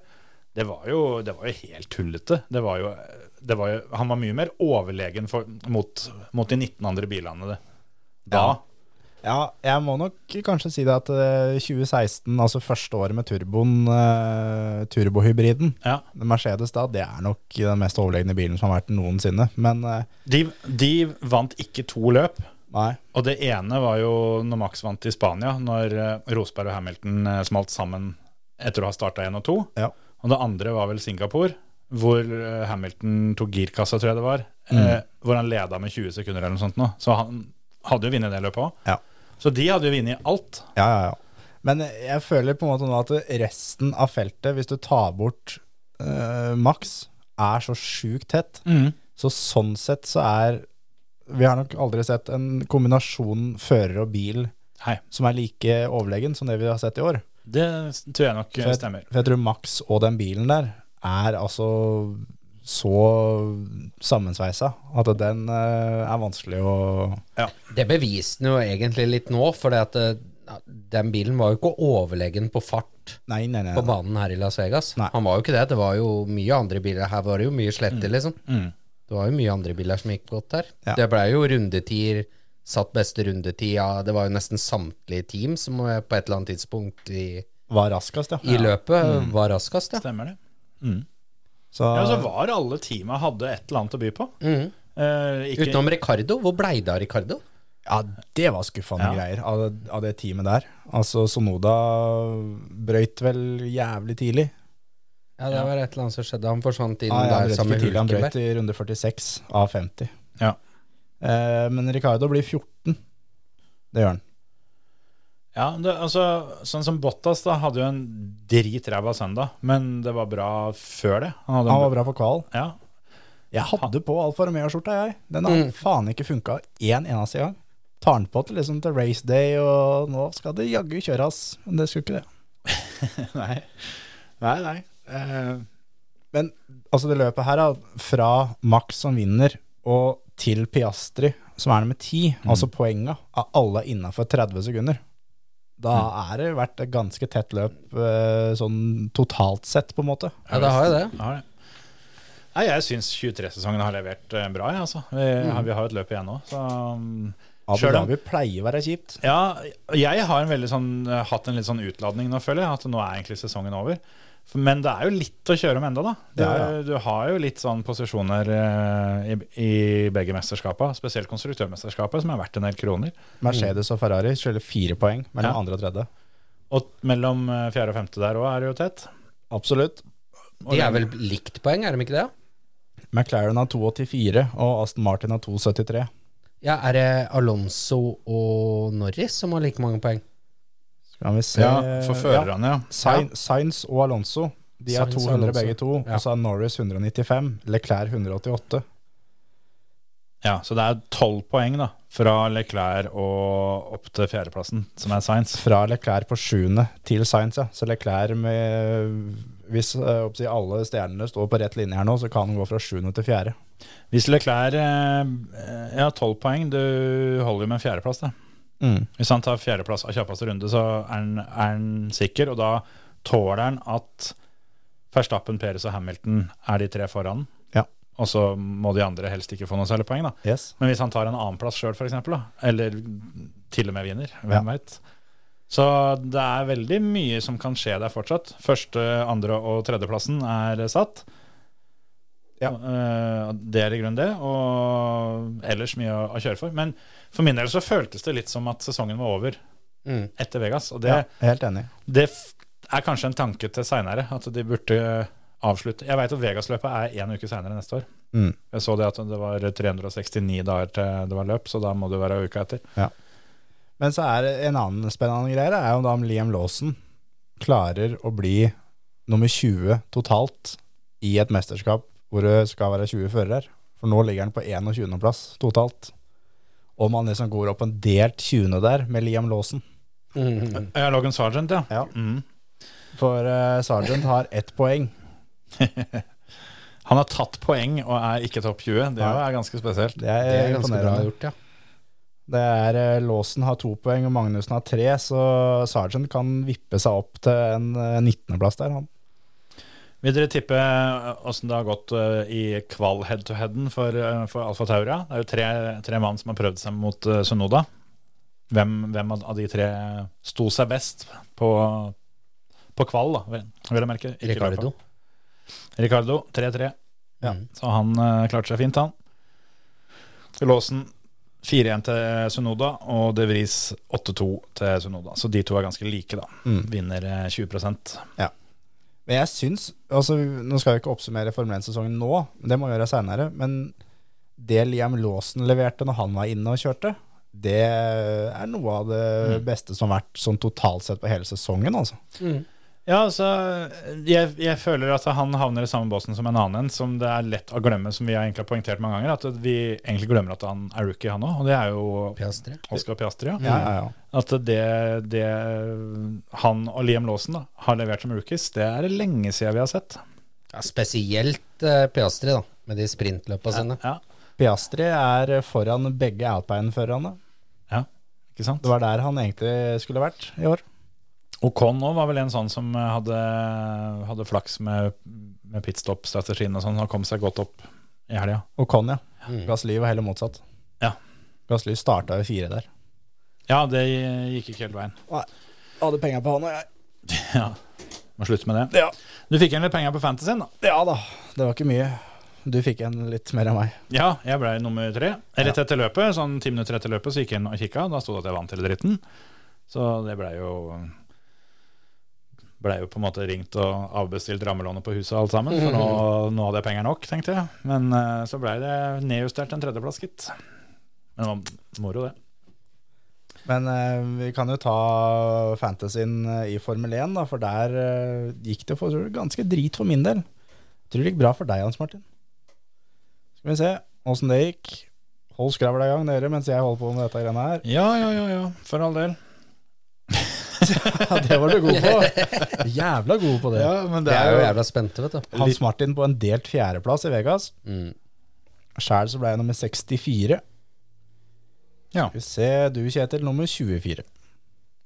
Speaker 3: Det var, jo, det var jo helt tullete. Det var jo eh, det var jo, Han var mye mer overlegen for, mot, mot de 19 andre bilene. Det. Da.
Speaker 4: Ja. Ja, jeg må nok kanskje si det at eh, 2016, altså første året med turboen, eh, turbohybriden,
Speaker 3: Ja.
Speaker 4: Mercedes da, det er nok den mest overlegne bilen som har vært noensinne. Men eh,
Speaker 3: De, de vant ikke to løp.
Speaker 4: nei,
Speaker 3: Og det ene var jo når Max vant i Spania, når eh, Rosberg og Hamilton eh, smalt sammen etter å ha starta én og to.
Speaker 4: ja.
Speaker 3: Og det andre var vel Singapore, hvor eh, Hamilton tok girkassa, tror jeg det var.
Speaker 4: Mm.
Speaker 3: Eh, hvor han leda med 20 sekunder eller noe sånt nå. Så han hadde jo vunnet det løpet òg.
Speaker 4: Ja.
Speaker 3: Så de hadde jo vunnet alt.
Speaker 4: Ja, ja, ja. Men eh, jeg føler på en måte nå at resten av feltet, hvis du tar bort eh, Max, er så sjukt tett. Så sånn sett så er Vi har nok aldri sett en kombinasjon fører og bil
Speaker 3: Nei,
Speaker 4: som er like overlegen som det vi har sett i år.
Speaker 3: det tror jeg nok eh,
Speaker 4: For jeg,
Speaker 3: stemmer.
Speaker 4: for jeg tror Max og den bilen der er altså så sammensveisa at den eh, er vanskelig å
Speaker 5: Det beviste den jo egentlig litt nå, for eh, den bilen var jo ikke overlegen på fart
Speaker 4: Nei, nei, nei.
Speaker 5: på banen her i Las Vegas.
Speaker 4: Nei.
Speaker 5: Han var jo ikke det. Det var jo mye andre biler. Her var det jo mye slette, liksom. Det var jo mye andre biler som gikk godt her.
Speaker 4: Ja.
Speaker 5: Det blei jo rundetider, satt beste rundetid. Ja, det var jo nesten samtlige team som eh, på et eller annet tidspunkt i,
Speaker 4: Var raskest, ja.
Speaker 5: i løpet var raskest, ja.
Speaker 3: Stemmer det.
Speaker 4: Så,
Speaker 3: Ja, så var alle teama hadde et eller annet å by på. Eh, ikke,
Speaker 5: Mm. Utenom Ricardo. Hvor blei det av Ricardo?
Speaker 4: Ja, det var skuffende
Speaker 3: Ja.
Speaker 4: greier av, av det teamet der. Altså, Sonoda brøyt vel jævlig tidlig.
Speaker 5: Ja, det var et eller annet som skjedde. Han forsvant inn
Speaker 4: Ah, Ja, ja,
Speaker 5: der
Speaker 4: han brøt
Speaker 5: sammen
Speaker 4: ikke
Speaker 5: med
Speaker 4: tidlig, han brøyt
Speaker 5: Hulkenberg.
Speaker 4: i runde 46 av 50.
Speaker 3: Ja.
Speaker 4: Eh, men Ricardo blir 14. Det gjør han.
Speaker 3: ja, det, altså, sånn som Bottas da, hadde jo en dritræva søndag, men det var bra før det. Han hadde en
Speaker 4: Han var bra på kval.
Speaker 3: Ja,
Speaker 4: Jeg hadde på Alfa Romeo-skjorta, jeg. Den har
Speaker 3: Mm.
Speaker 4: faen ikke funka én eneste gang. Tar den på til, liksom, til race day, og nå skal det jaggu kjøres. Men det skulle ikke det.
Speaker 3: nei. Nei, nei. Eh,
Speaker 4: Men altså det løpet her, da, fra Max som vinner og til Piastri, som er nummer ti,
Speaker 3: Mm.
Speaker 4: altså poenga, er alle innafor 30 sekunder. Da
Speaker 3: Mm.
Speaker 4: er det vært et ganske tett løp eh, sånn totalt sett, på en måte.
Speaker 5: Ja, det har jo det.
Speaker 3: Jeg har det. Nei, jeg syns 23-sesongen har levert eh, bra, jeg, altså. Vi,
Speaker 4: Mm.
Speaker 3: har- vi har jo et løp igjen nå, så um,
Speaker 4: Abu
Speaker 3: Selv om-
Speaker 4: Dhabi pleier å være kjipt.
Speaker 3: Ja, jeg har en veldig sånn, eh, hatt en litt sånn utladning nå, føler jeg. At nå er egentlig sesongen over. For- Men det er jo litt å kjøre om enda da. Det er,
Speaker 4: Ja, ja.
Speaker 3: Du har jo litt sånn posisjoner eh, i, i begge mesterskapene. Spesielt konstruktørmesterskapet, som er verdt en del kroner.
Speaker 4: Mercedes og Ferrari skylder fire poeng mellom
Speaker 3: Ja.
Speaker 4: andre og tredje.
Speaker 3: Og mellom eh, fjerde og femte der òg er det jo tett.
Speaker 4: Absolutt.
Speaker 5: De er vel likt poeng, er de ikke det?
Speaker 4: McLaren har 2,84 og Aston Martin har 2,73.
Speaker 5: Ja, Er det Alonso og Norris som har like mange poeng?
Speaker 4: Skal vi se
Speaker 3: Ja, for førerne, Eh, ja.
Speaker 4: Sain- Sainz og Alonso De har
Speaker 5: Sainz og
Speaker 4: 200
Speaker 5: Alonso.
Speaker 4: begge to
Speaker 5: Ja.
Speaker 4: Og så er Norris 195 Leclerc 188
Speaker 3: ja. Så det er tolv poeng da, fra Leclerc og opp til fjerdeplassen, som er Science.
Speaker 4: Fra Leclerc på 7. til Sainz ja. Så Leclerc med Hvis eh, oppsi, alle stjernene står på rett linje her nå Så kan han gå fra 7. til 4.
Speaker 3: Hvis Leclerc eh, ja, 12 poeng, du holder jo med en fjerdeplass. Da.
Speaker 4: Mm.
Speaker 3: Hvis han tar fjerdeplass av kjappeste runde, så er han, er han sikker. Og da tåler han at Verstappen, Perez og Hamilton er de tre foran.
Speaker 4: Ja.
Speaker 3: Og så må de andre helst ikke få noe særlig poeng. Da.
Speaker 4: Yes
Speaker 3: Men hvis han tar en annenplass sjøl, f.eks., eller til og med vinner,
Speaker 4: Ja.
Speaker 3: hvem vet Så det er veldig mye som kan skje der fortsatt. Første, andre og tredjeplassen er satt.
Speaker 4: Ja.
Speaker 3: Eh, Det er i grunnen det, og ellers mye å å kjøre for. Men for min del så føltes det litt som at sesongen var over
Speaker 5: Mm.
Speaker 3: etter Vegas. Og det,
Speaker 4: ja, Helt enig
Speaker 3: det f- er kanskje en tanke til seinere, at de burde avslutte. Jeg veit at Vegas-løpet er én uke seinere neste år.
Speaker 4: Mm.
Speaker 3: Jeg så det at det var 369 dager til det var løp, så da må det være uka etter.
Speaker 4: Men så er det en annen spennende greie da, Er jo da om Liam Lawson Klarer å bli nummer 20 totalt I et mesterskap Hvor det skal være 20 fører For nå ligger han på 21. plass totalt Om han liksom går opp en delt 20. der Med Liam Lawson
Speaker 5: Mm.
Speaker 3: Ja, Logan Sargent, ja.
Speaker 4: Ja.
Speaker 3: Mm.
Speaker 4: For eh, Sargent har ett poeng.
Speaker 3: Han har tatt poeng og er ikke topp 20. Det
Speaker 4: Nei.
Speaker 3: er ganske spesielt.
Speaker 4: Det er,
Speaker 5: Det er ganske bra
Speaker 4: imponerende.
Speaker 5: gjort, ja.
Speaker 4: Det er eh, Lawson har to poeng og Magnussen har tre, så Sargent kan vippe seg opp til en eh, 19. plass der. Han.
Speaker 3: Vil dere tippe åssen det har gått eh, i kval head-to-headen for, eh, for Alfa Taura? Det er jo tre, tre mann som har prøvd seg mot eh, Sunoda. Hvem, hvem av av de tre sto seg best på, på kval, da, vil- vil jeg merke? Ikke løpet.
Speaker 5: Ricardo. Mm,
Speaker 3: Ricardo 3-3.
Speaker 4: Ja.
Speaker 3: Så han eh, klarte seg fint, han. Låsen 4-1 til Sunoda, og De Vries 8-2 til Sunoda. Så de to er ganske like, da. Vinner eh, 20
Speaker 4: Men jeg syns altså, Nå skal vi ikke oppsummere Formel 1-sesongen nå, men det må vi gjøre seinere. Men det Liam Lawson leverte når han var inne og kjørte, det er noe av det beste som har vært sånn totalt sett på hele sesongen, altså.
Speaker 3: Ja, altså, jeg, jeg føler at han havner i samme båsen som en annen en, som det er lett å glemme, som vi har egentlig har poengtert mange ganger, at vi egentlig glemmer at han er rookie, han òg. Og det er jo
Speaker 5: Piastri.
Speaker 3: Oscar Piastri. Ja.
Speaker 4: Ja, ja, ja.
Speaker 3: At det, det han og Liam Lawson da, har levert som rookies, det er det lenge siden vi har sett.
Speaker 5: Ja, spesielt eh, Piastri, da, med de sprintløpa sine.
Speaker 3: Ja,
Speaker 4: Piastri er foran begge Alpine-førerne.
Speaker 3: ja, ikke sant?
Speaker 4: Det var der han egentlig skulle vært i år.
Speaker 3: Ocon òg var vel en sånn som hadde, hadde flaks med, med pitstop-strategien og sånn, og kom seg godt opp i helga.
Speaker 4: Og Conja. Gasly var heller motsatt.
Speaker 3: Ja.
Speaker 4: Gasly starta jo fire der.
Speaker 3: ja, det gikk ikke helt veien.
Speaker 4: Hadde penga på han og jeg.
Speaker 3: Ja, må slutte med det.
Speaker 4: Ja.
Speaker 3: Du fikk igjen litt penger på fantasyen, da.
Speaker 4: Ja da, det var ikke mye. Du fikk en litt mer enn meg.
Speaker 3: Ja, jeg ble nummer tre. Rett etter løpet, sånn ti minutter etter løpet, så gikk jeg inn og kikka. Da sto det at jeg vant hele dritten. Så det blei jo Blei jo på en måte ringt og avbestilt rammelånet på huset og alt sammen. For nå, nå hadde jeg penger nok, tenkte jeg. Men eh, så blei det nedjustert en tredjeplass, gitt. Men det var moro, det.
Speaker 4: Men eh, vi kan jo ta fantasyen eh, i Formel 1, da, for der eh, gikk det for, ganske drit for min del. Tror det gikk bra for deg, Hans Martin. Skal vi se åssen det gikk. Hold skravla i gang, dere, mens jeg holder på med dette greiene her.
Speaker 3: Ja, ja, ja, ja. For all del.
Speaker 4: Ja, det var du god på. Jævla god på det.
Speaker 3: Ja, men
Speaker 5: Vi er jo jævla spente, vet du.
Speaker 4: Hans Martin på en delt fjerdeplass i Vegas.
Speaker 5: Mm.
Speaker 4: Sjæl så ble jeg nummer 64.
Speaker 3: Ja.
Speaker 4: Skal vi se, du Kjetil, nummer 24.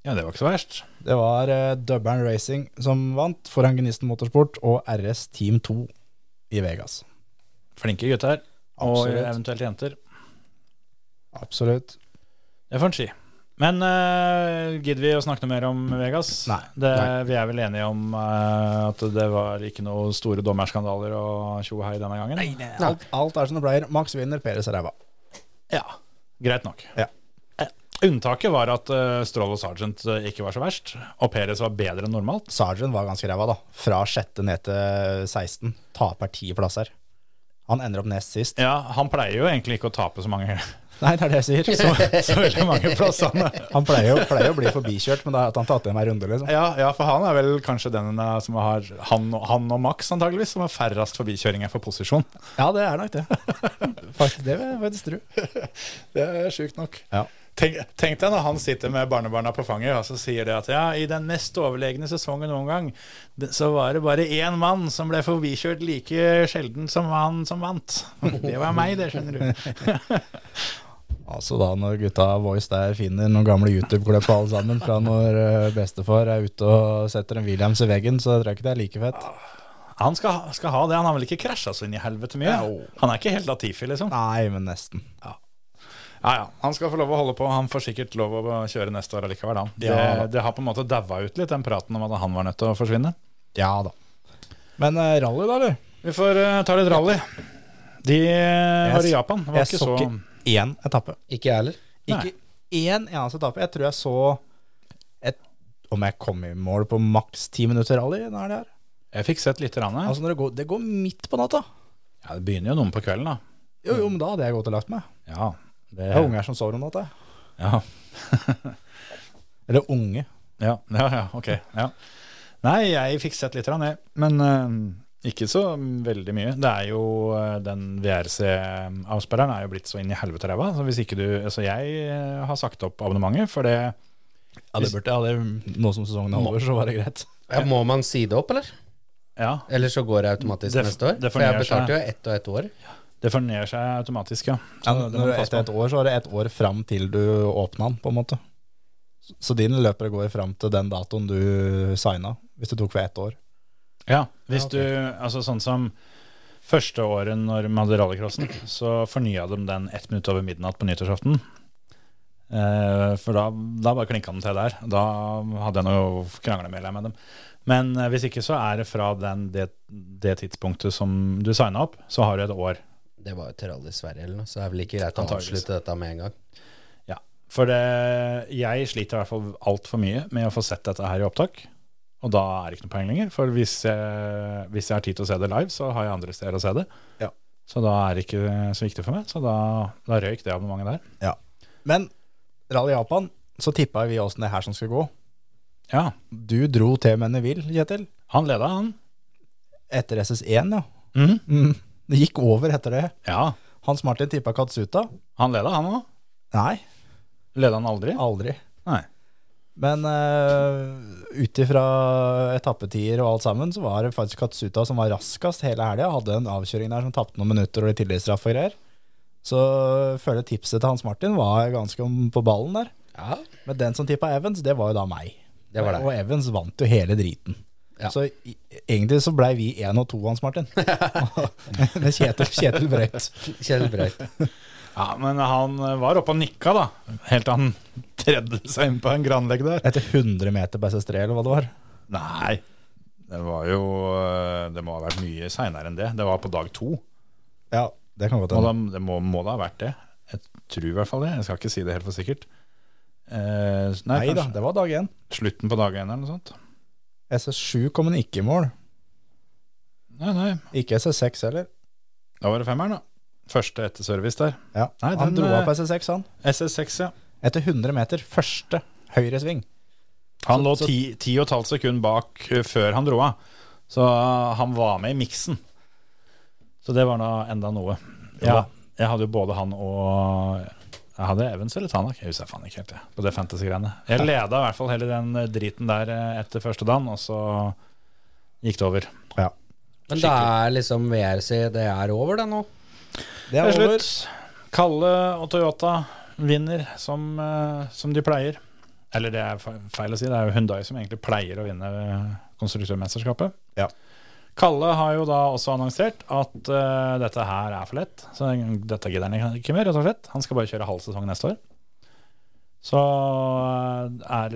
Speaker 3: ja, det var ikke så verst.
Speaker 4: Det var uh, Dubbern Racing som vant foran Gnisten Motorsport og RS Team 2 i Vegas.
Speaker 3: Flinke gutter. Og
Speaker 4: Absolutt.
Speaker 3: eventuelt jenter.
Speaker 4: Absolutt.
Speaker 3: Det får en si. Men eh, gidder vi å snakke noe mer om Vegas?
Speaker 4: Nei.
Speaker 3: Det, Vi er vel enige om eh, at det var ikke noen store dommerskandaler og tjo og hei denne gangen? Nei,
Speaker 4: Alt, alt er som det pleier. Max vinner, Peres er ræva.
Speaker 3: Ja, Greit nok.
Speaker 4: Ja.
Speaker 3: Eh, Unntaket var at eh, Stroll og Sergeant eh, ikke var så verst, og Perez var bedre enn normalt.
Speaker 4: Sargent var ganske ræva, da. Fra sjette ned til 16. Taper ti plasser. Han ender opp nest sist.
Speaker 3: Ja, Han pleier jo egentlig ikke å tape så mange
Speaker 4: Nei, det er det jeg sier. Så,
Speaker 3: så veldig mange plassene.
Speaker 4: han pleier jo pleier å bli forbikjørt, men da har han tatt igjen en runde, liksom.
Speaker 3: Ja, ja, for han er vel kanskje den eh, som har han og, han og Max antageligvis, som har færrest forbikjøringer for posisjon.
Speaker 4: Ja, det er nok det. Faktisk, det vil jeg faktisk tro.
Speaker 3: Det er sjukt nok.
Speaker 4: Ja.
Speaker 3: Tenk, tenk deg når han sitter med barnebarna på fanget og så sier det at ja, i den mest overlegne sesongen noen gang, det- så var det bare én mann som ble forbikjørt like sjelden som han som vant. Det var meg, det, skjønner du.
Speaker 4: Altså da når gutta Voice der finner noen gamle YouTube-klipp alle sammen fra når eh, bestefar er ute og setter en Williams i veggen, så tror jeg ikke det er like fett.
Speaker 3: Han skal, ha- skal ha det. Han har vel ikke krasja så inn i helvete mye? Han er ikke helt Latifi, liksom.
Speaker 4: Nei, men nesten.
Speaker 3: Ja, ja. Han skal få lov å holde på. Han får sikkert lov å kjøre neste år allikevel, han. Det,
Speaker 4: Ja, da.
Speaker 3: det har på en måte daua ut litt, den praten om at han var nødt til å forsvinne.
Speaker 4: Ja da. Men eh, rally, da, eller?
Speaker 3: Vi får eh, ta litt rally. De eh, var i Japan. Det var
Speaker 4: jeg
Speaker 3: ikke
Speaker 4: så
Speaker 3: så
Speaker 4: ikke én etappe.
Speaker 5: Ikke jeg heller.
Speaker 3: Nei.
Speaker 4: Ikke én eneste etappe. Jeg tror jeg så et, om jeg kom i mål på maks ti minutter rally. Nå er det her.
Speaker 3: Jeg fikk sett litt. Rann,
Speaker 4: Altså når det går, det går midt på natta.
Speaker 3: Ja, det begynner jo noen på kvelden, da.
Speaker 4: Jo, jo, men da hadde jeg gått og lagt meg.
Speaker 3: Ja, det,
Speaker 4: Det er unger som sover om natta. jeg.
Speaker 3: ja,
Speaker 4: Eller unge.
Speaker 3: ja, ja, ja, ok. Ja. Nei, jeg fikk sett litt, rann, jeg. men eh, ikke så veldig mye. Det er jo eh, Den VRC-avspilleren er jo blitt så inn i helvete ræva, så hvis ikke du Så jeg eh, har sagt opp abonnementet, for det
Speaker 4: Ja, det burde jeg. det- Nå som sesongen er over, så var det greit.
Speaker 5: Ja, må man si det opp, eller?
Speaker 3: Ja,
Speaker 5: Eller så går det automatisk
Speaker 3: Det-
Speaker 5: neste år?
Speaker 3: det
Speaker 5: For jeg
Speaker 3: fornyer seg.
Speaker 5: betalte jo ett og ett år.
Speaker 3: det fornyer seg automatisk, ja.
Speaker 4: Ja,
Speaker 3: Så det må
Speaker 4: når
Speaker 3: du
Speaker 4: du
Speaker 3: passe på.
Speaker 4: etter et år, så er det et år fram til du åpna den, på en måte. Så- Så dine løpere går fram til den datoen du signa, hvis det tok for ett år.
Speaker 3: Ja, hvis du, altså sånn som første året når vi hadde rallycrossen, så fornya de den ett minutt over midnatt på nyttårsaften. Eh, for da, da bare klinka den til der. Da hadde jeg noe kranglemedlem med dem. Men eh, hvis ikke så er det fra den, det, det tidspunktet som du signa opp, så har du et år.
Speaker 5: Det var jo til Rally Sverige eller noe, så det er vel ikke greit å
Speaker 3: Antageligvis.
Speaker 5: avslutte dette med en gang.
Speaker 3: Ja. For det, jeg sliter i hvert fall altfor mye med å få sett dette her i opptak. Og da er det ikke noe poeng lenger. For hvis jeg, hvis jeg har tid til å se det live, så har jeg andre steder å se det.
Speaker 4: Ja.
Speaker 3: Så da er det ikke så viktig for meg. Så da, da røyk det abonnementet der.
Speaker 4: Ja. Men Rally Japan, så tippa vi åssen det her som skulle gå.
Speaker 3: Ja,
Speaker 4: Du dro til Menneville, Kjetil.
Speaker 3: han leda, han.
Speaker 4: Etter SS1, ja.
Speaker 3: Mhm.
Speaker 4: Mm. Det gikk over etter det.
Speaker 3: Ja,
Speaker 4: Hans Martin tippa Katsuta.
Speaker 3: han leda, han òg.
Speaker 4: Nei,
Speaker 3: Leda han aldri?
Speaker 4: aldri.
Speaker 3: Nei.
Speaker 4: Men uh, ut ifra etappetider og alt sammen, så var det faktisk Katsuta som var raskest hele helga. Hadde en avkjøring der som tapte noen minutter og litt tilleggsstraff og greier. Så jeg føler tipset til Hans Martin var ganske om- på ballen der.
Speaker 5: Ja,
Speaker 4: Men den som tippa Evans, det var jo da meg.
Speaker 5: Det var deg.
Speaker 4: Og Evans vant jo hele driten.
Speaker 5: Ja.
Speaker 4: Så i, egentlig så blei vi én og to, Hans Martin. Men Kjetil, Kjetil brøt.
Speaker 5: Kjell Brøyt.
Speaker 3: Ja, Men han var oppe og nikka, da. Helt til han tredde seg inn på en granlegg der.
Speaker 4: Etter 100 meter på SS3, eller hva det var.
Speaker 3: Nei, det var jo eh, Det må ha vært mye seinere enn det. Det var på dag to.
Speaker 4: Ja, det kan godt
Speaker 3: Må
Speaker 4: hende.
Speaker 3: da, det må, må da ha vært det. Jeg tror i hvert fall det. Jeg skal ikke si det helt for sikkert. Eh, nei,
Speaker 4: Nei da,
Speaker 3: kanskje
Speaker 4: det var dag én.
Speaker 3: slutten på dag én eller noe sånt.
Speaker 4: SS7 kom han ikke i mål.
Speaker 3: Nei, nei.
Speaker 4: Ikke SS6 heller.
Speaker 3: Da var det femmeren, da. Første etter service der.
Speaker 4: Ja,
Speaker 3: Nei,
Speaker 4: Han
Speaker 3: den,
Speaker 4: dro av
Speaker 3: eh,
Speaker 4: på SS6, han.
Speaker 3: SS6, ja.
Speaker 4: Etter 100 meter, første høyre sving.
Speaker 3: Han
Speaker 4: Så-
Speaker 3: lå
Speaker 4: så-
Speaker 3: ti, ti og et halvt sekund bak eh, før han dro av. Så eh, han var med i miksen. Så det var nå enda noe. Ja,
Speaker 4: da.
Speaker 3: jeg hadde jo både han og Jeg hadde Evans eller Tanak. Jeg husker faen ikke helt, jeg. På det fantasy-greiene. Jeg leda i hvert fall hele den eh, driten der eh, etter første dagen, og så gikk det over.
Speaker 4: Ja.
Speaker 5: Men da er liksom VRC det er over, da nå?
Speaker 4: Det
Speaker 3: Det
Speaker 4: er
Speaker 3: er
Speaker 4: over.
Speaker 3: slutt. Kalle og Toyota vinner som, eh, som de pleier. Eller det er fe- feil å si, det er jo Hyundai som egentlig pleier å vinne eh, konstruktørmesterskapet.
Speaker 4: Ja.
Speaker 3: Kalle har jo da også annonsert at eh, dette her er for lett, så dette gidder han ikke mer, rett og slett. Han skal bare kjøre halv sesong neste år. Så eh, er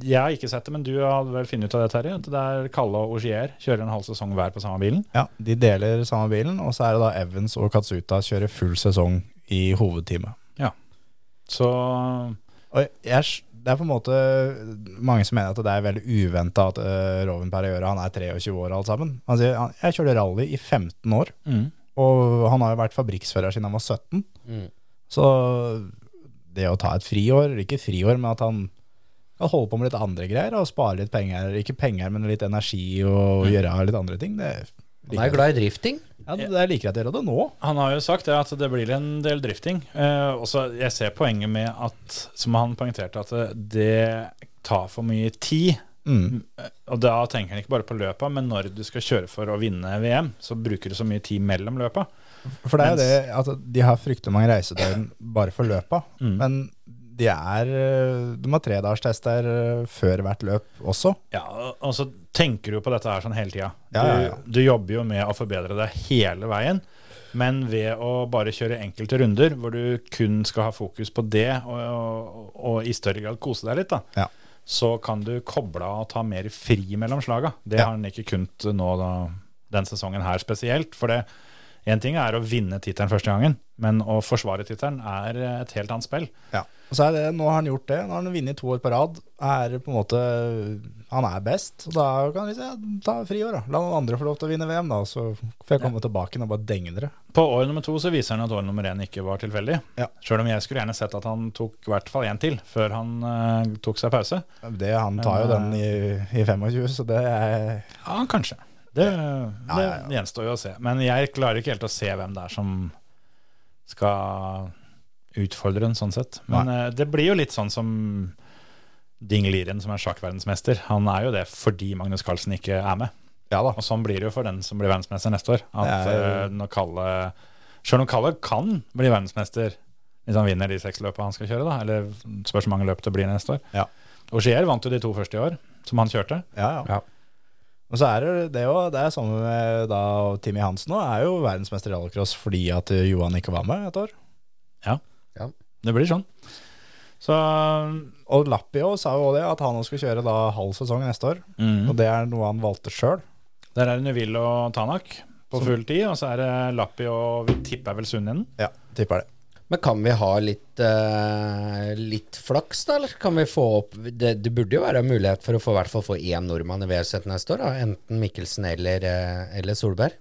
Speaker 3: Jeg har ikke sett det, men du hadde vel funnet ut av det, Terje? At det er Kalle og Ogier kjører en halv sesong hver på samme bilen?
Speaker 4: Ja, De deler samme bilen, og så er det da Evans og Katsuta kjører full sesong i hovedteamet.
Speaker 3: Så
Speaker 4: Og jeg, s- det er på en måte mange som mener at det er veldig uventa at uh, Roven Periora han er 23 år alt sammen. Han sier han, jeg kjørte rally i 15 år,
Speaker 3: mm.
Speaker 4: og han har jo vært fabrikksfører siden han var 17.
Speaker 5: Mm.
Speaker 4: Så det å ta et friår, eller ikke friår, men at han kan holde på med litt andre greier og spare litt penger, ikke penger, men litt energi og gjøre litt andre ting, det
Speaker 5: Han er jo glad i drifting.
Speaker 4: ja, det det er like greit å gjøre det nå.
Speaker 3: Han har jo sagt det at det blir en del drifting. Eh, også, jeg ser poenget med at, som han poengterte, at det tar for mye tid. Eh,
Speaker 4: Mm.
Speaker 3: Og da tenker han ikke bare på løpa, men når du skal kjøre for å vinne VM, så bruker du så mye tid mellom løpa.
Speaker 4: For det er jo
Speaker 3: Mens-
Speaker 4: det at de har fryktelig mange reisedøgn bare for løpa. Men de er øh, De har tredagerstester øh, før hvert løp også.
Speaker 3: Ja, og- og så tenker du på dette her sånn hele tida.
Speaker 4: Ja, ja, ja.
Speaker 3: du, du jobber jo med å forbedre deg hele veien, men ved å bare kjøre enkelte runder hvor du kun skal ha fokus på det, og, og, og i større grad kose deg litt, da,
Speaker 4: Ja.
Speaker 3: så kan du koble av og ta mer fri mellom slaga. Det
Speaker 4: Ja.
Speaker 3: har han ikke kunnet nå da, den sesongen her spesielt. For det én ting er å vinne tittelen første gangen, men å forsvare tittelen er et helt annet spill.
Speaker 4: Og så er det, Nå har han gjort det. Nå har han vunnet to år på rad. Er på en måte Han er best. Og da kan vi si, ja, ta friår, da. La noen andre få lov til å vinne VM, da. Så får jeg komme tilbake og bare denge dere.
Speaker 3: På år nummer to så viser han at år nummer én ikke var tilfeldig.
Speaker 4: Ja.
Speaker 3: Sjøl om jeg skulle gjerne sett at han tok i hvert fall én til før han eh, tok seg pause.
Speaker 4: Det, han tar jo den i, i 25, så det er
Speaker 3: Ja, kanskje. Det, det
Speaker 4: ja, ja.
Speaker 3: gjenstår jo å se. Men jeg klarer ikke helt å se hvem det er som skal utfordre den, sånn sett. Men eh, det blir jo litt sånn som Ding Liren, som er sjakkverdensmester. Han er jo det fordi Magnus Carlsen ikke er med.
Speaker 4: Ja da.
Speaker 3: Og sånn blir det jo for den som blir verdensmester neste år. At
Speaker 4: Det er-
Speaker 3: eh, når Kalle Sjøl om Kalle kan bli verdensmester hvis han vinner de seks løpa han skal kjøre, da. Eller spørs hvor mange løp det blir neste år.
Speaker 4: Ja.
Speaker 3: Og Skier vant jo de to første i år, som han kjørte.
Speaker 4: Ja, ja. Men så er det jo det òg. Det er samme med da Timmy Hansen òg. Er jo verdensmester i rallycross fordi at eh, Johan ikke var med et år.
Speaker 3: Det blir sånn. Så
Speaker 4: Og Lappi også sa jo også det, at han også skulle kjøre da halv sesong neste år.
Speaker 3: mm.
Speaker 4: Og det er noe han valgte sjøl.
Speaker 3: Der er det Neville og Tanak på full tid, og så er det Lappi og vi tipper vel Sundenden.
Speaker 4: Ja, tipper det.
Speaker 5: Men kan vi ha litt, eh, litt flaks, da? Eller kan vi få opp Det, det burde jo være en mulighet for å få, i hvert fall få én nordmann i VLC neste år, da. enten Mikkelsen eller, eh, eller Solberg.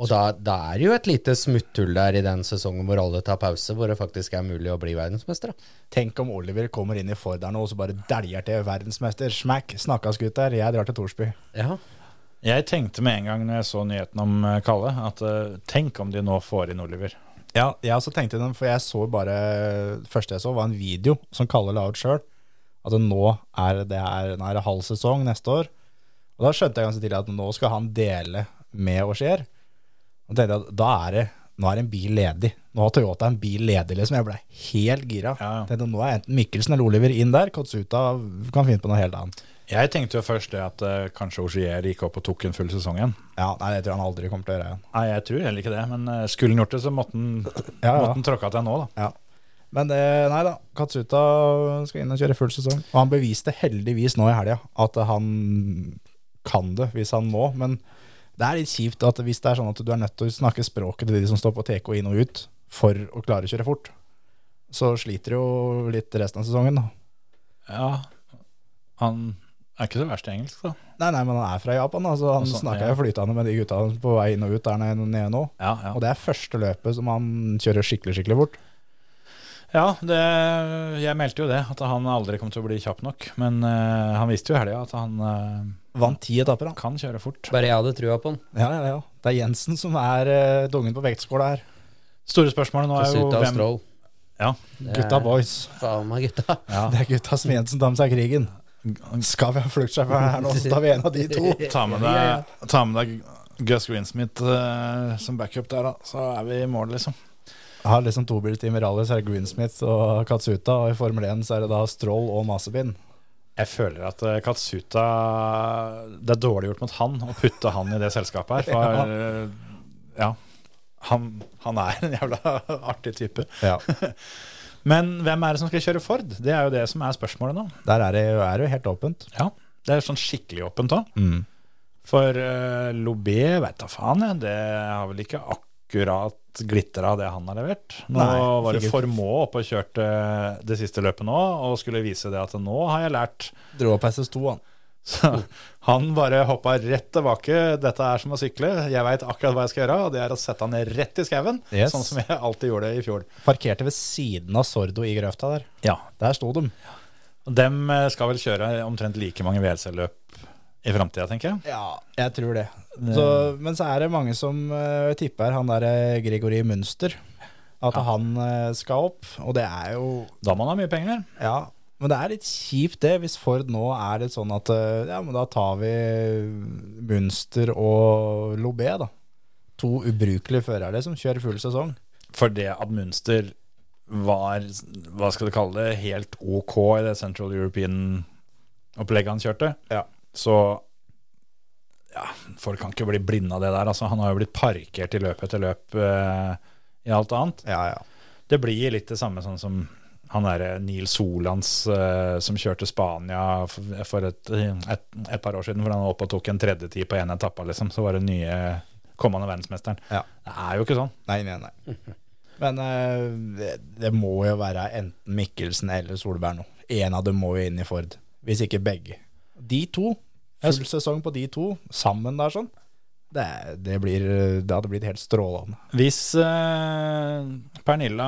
Speaker 5: Og da, da er det jo et lite smutthull der i den sesongen hvor alle tar pause, hvor det faktisk er mulig å bli verdensmester. Da.
Speaker 4: Tenk om Oliver kommer inn i Forderen og så bare dæljer til verdensmester. Smack! Snakkes, gutter. Jeg drar til Torsby.
Speaker 5: Ja.
Speaker 3: Jeg tenkte med en gang når jeg så nyheten om eh, Kalle, at eh, tenk om de nå får inn Oliver.
Speaker 4: Ja, jeg også tenkte den, for jeg så bare Det første jeg så, var en video som Kalle la ut sjøl. At nå er det her, nå er det halv sesong neste år. Og da skjønte jeg ganske tidlig at nå skal han dele med Auxier. Og tenkte jeg at da er det nå er det en bil ledig. Nå har Toyota en bil ledig, liksom. Jeg ble helt gira.
Speaker 3: Ja, ja.
Speaker 4: Tenkte, nå er enten Mikkelsen eller Oliver inn der. Kotsuta kan finne på noe helt annet.
Speaker 3: Jeg tenkte jo først det at eh, kanskje Ogier gikk opp og tok en full sesong igjen.
Speaker 4: Ja, nei, det tror jeg han aldri kommer til å gjøre igjen.
Speaker 3: Nei, jeg tror heller ikke det, men eh, skulle han gjort det, så måtte han,
Speaker 4: Ja, ja.
Speaker 3: måtte han tråkka til nå, da.
Speaker 4: Ja. Men det, nei da, Katsuta skal inn og kjøre full sesong. Og han beviste heldigvis nå i helga at han kan det hvis han må. Men det er litt kjipt at hvis det er sånn at du er nødt til å snakke språket til de som står på TK inn og ut for å klare å kjøre fort, så sliter du jo litt resten av sesongen. da.
Speaker 3: Ja, han er ikke så verst i engelsk, da.
Speaker 4: Nei, nei, men han er fra Japan, da, så han
Speaker 3: Og sånn,
Speaker 4: snakker
Speaker 3: ja.
Speaker 4: jo flytende med de gutta på vei inn og ut der nede nede nå.
Speaker 3: Ja, ja.
Speaker 4: Og det er første løpet som han kjører skikkelig, skikkelig fort.
Speaker 3: ja det, jeg meldte jo det, at han aldri kom til å bli kjapp nok. Men eh, han viste jo i helga at han eh,
Speaker 4: Vant ti etapper, han.
Speaker 3: kan kjøre fort.
Speaker 5: Bare jeg hadde trua på den.
Speaker 4: Ja, ja, ja. Det er Jensen som er eh, dungen på vektskåla her.
Speaker 3: Store spørsmålet nå er jo
Speaker 5: Kasuta og
Speaker 3: hvem
Speaker 5: Stroll.
Speaker 3: ja,
Speaker 4: Gutta boys.
Speaker 5: Faen meg, gutta.
Speaker 3: ja.
Speaker 4: Det er gutta som Jensen tar med seg krigen. Skal vi ha fluktsjåføren her nå, så tar vi en av de to.
Speaker 3: Ta med deg, ta med deg Gus Greensmith eh, som backup der, da. Så er vi i mål, liksom.
Speaker 4: Jeg har liksom tobiltimer rally, så er det Greensmith og Katsuta, og i Formel 1 så er det da Stroll og Masebin.
Speaker 3: Jeg føler at eh, Katsuta Det er dårlig gjort mot han å putte han i det selskapet her. For eh, ja, han, han er en jævla artig type.
Speaker 4: Ja.
Speaker 3: Men hvem er det som skal kjøre Ford? Det er jo det som er spørsmålet nå.
Speaker 4: Der er det jo, er det jo helt åpent.
Speaker 3: Ja, Det er sånn skikkelig åpent òg. For uh, Lobé veit da faen, jeg. Det har vel ikke akkurat glitra det han har levert. Nå
Speaker 4: Nei,
Speaker 3: var det
Speaker 4: sikkert.
Speaker 3: Formå oppe og kjørte det siste løpet nå, og skulle vise det at nå har jeg lært.
Speaker 4: Dro opp SS2, han.
Speaker 3: Så han bare hoppa rett tilbake. Dette er som å sykle. Jeg veit akkurat hva jeg skal gjøre, og det er å sette han ned rett i skauen.
Speaker 4: Yes.
Speaker 3: Sånn som jeg alltid gjorde i fjor.
Speaker 4: Parkerte ved siden av Sordo i grøfta der.
Speaker 3: Ja.
Speaker 4: Der sto de.
Speaker 3: Og dem eh, skal vel kjøre omtrent like mange VLC-løp i framtida, tenker jeg.
Speaker 4: Ja, jeg tror det. Så,
Speaker 3: Eh,
Speaker 4: men så er det mange som eh, tipper han der eh, Gregory Munster, at han eh, skal opp. Og det er jo
Speaker 3: Da må han ha mye penger.
Speaker 4: Ja, men det er litt kjipt det hvis Ford nå er litt sånn at eh, ja, men da tar vi Munster og Lobé, da. To ubrukelige førere som kjører full sesong.
Speaker 3: For det at Munster var, hva skal du kalle det, helt OK i det Central European-opplegget han kjørte,
Speaker 4: Ja.
Speaker 3: så ja, folk kan ikke bli blinde av det der. Altså, han har jo blitt parkert i løp etter løp eh, i alt annet.
Speaker 4: Ja, ja.
Speaker 3: Det blir litt det samme sånn som han derre Neil Solans eh, som kjørte Spania for, for et, et, et par år siden, for han var oppe og tok en tredjetid på én etappe, liksom. Så var det nye kommende verdensmesteren.
Speaker 4: Ja.
Speaker 3: Det er jo ikke sånn.
Speaker 4: Nei, nei, nei. Men eh, det, det må jo være enten Mikkelsen eller Solberg nå. En av dem må jo inn i Ford. Hvis ikke begge. De to. Full sesong på de to, sammen der sånn. Det, det, blir, eh, det hadde blitt helt strålende.
Speaker 3: Hvis eh, Pernilla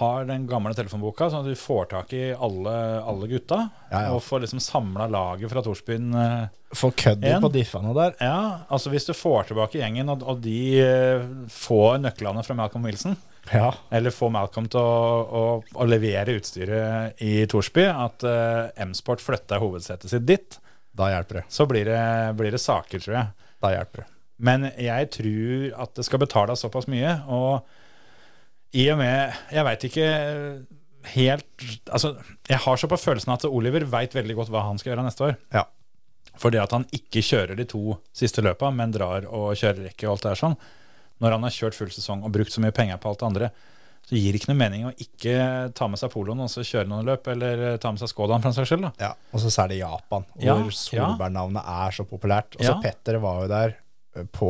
Speaker 3: har den gamle telefonboka, sånn at du får tak i alle, alle gutta,
Speaker 4: Ja, ja.
Speaker 3: og får liksom samla laget fra Torsbyen eh,
Speaker 4: For kødder
Speaker 3: En.
Speaker 4: på diffene der.
Speaker 3: Ja, altså hvis du får tilbake gjengen, og, og de eh, får nøklene fra Malcolm Wilson,
Speaker 4: Ja.
Speaker 3: eller får Malcolm til å, å, å levere utstyret i Torsby, at eh, M-Sport flytter hovedsetet sitt dit,
Speaker 4: Da hjelper det.
Speaker 3: så blir det, blir det saker, tror jeg.
Speaker 4: Da hjelper det.
Speaker 3: Men jeg tror at det skal betales såpass mye, og i og med Jeg veit ikke helt Altså, jeg har så på følelsen at Oliver veit veldig godt hva han skal gjøre neste år.
Speaker 4: Ja.
Speaker 3: Fordi at han ikke kjører de to siste løpa, men drar og kjører rekke og alt det her sånn. Når han har kjørt full sesong og brukt så mye penger på alt det andre, så gir det ikke noe mening å ikke ta med seg poloen og så kjøre noen løp, eller eh, ta med seg Skodaen for en saks skyld. da.
Speaker 4: Ja, og så særlig Japan,
Speaker 3: Ja,
Speaker 4: hvor Solberg-navnet er så populært. Og så
Speaker 3: Ja.
Speaker 4: Petter var jo der eh, på,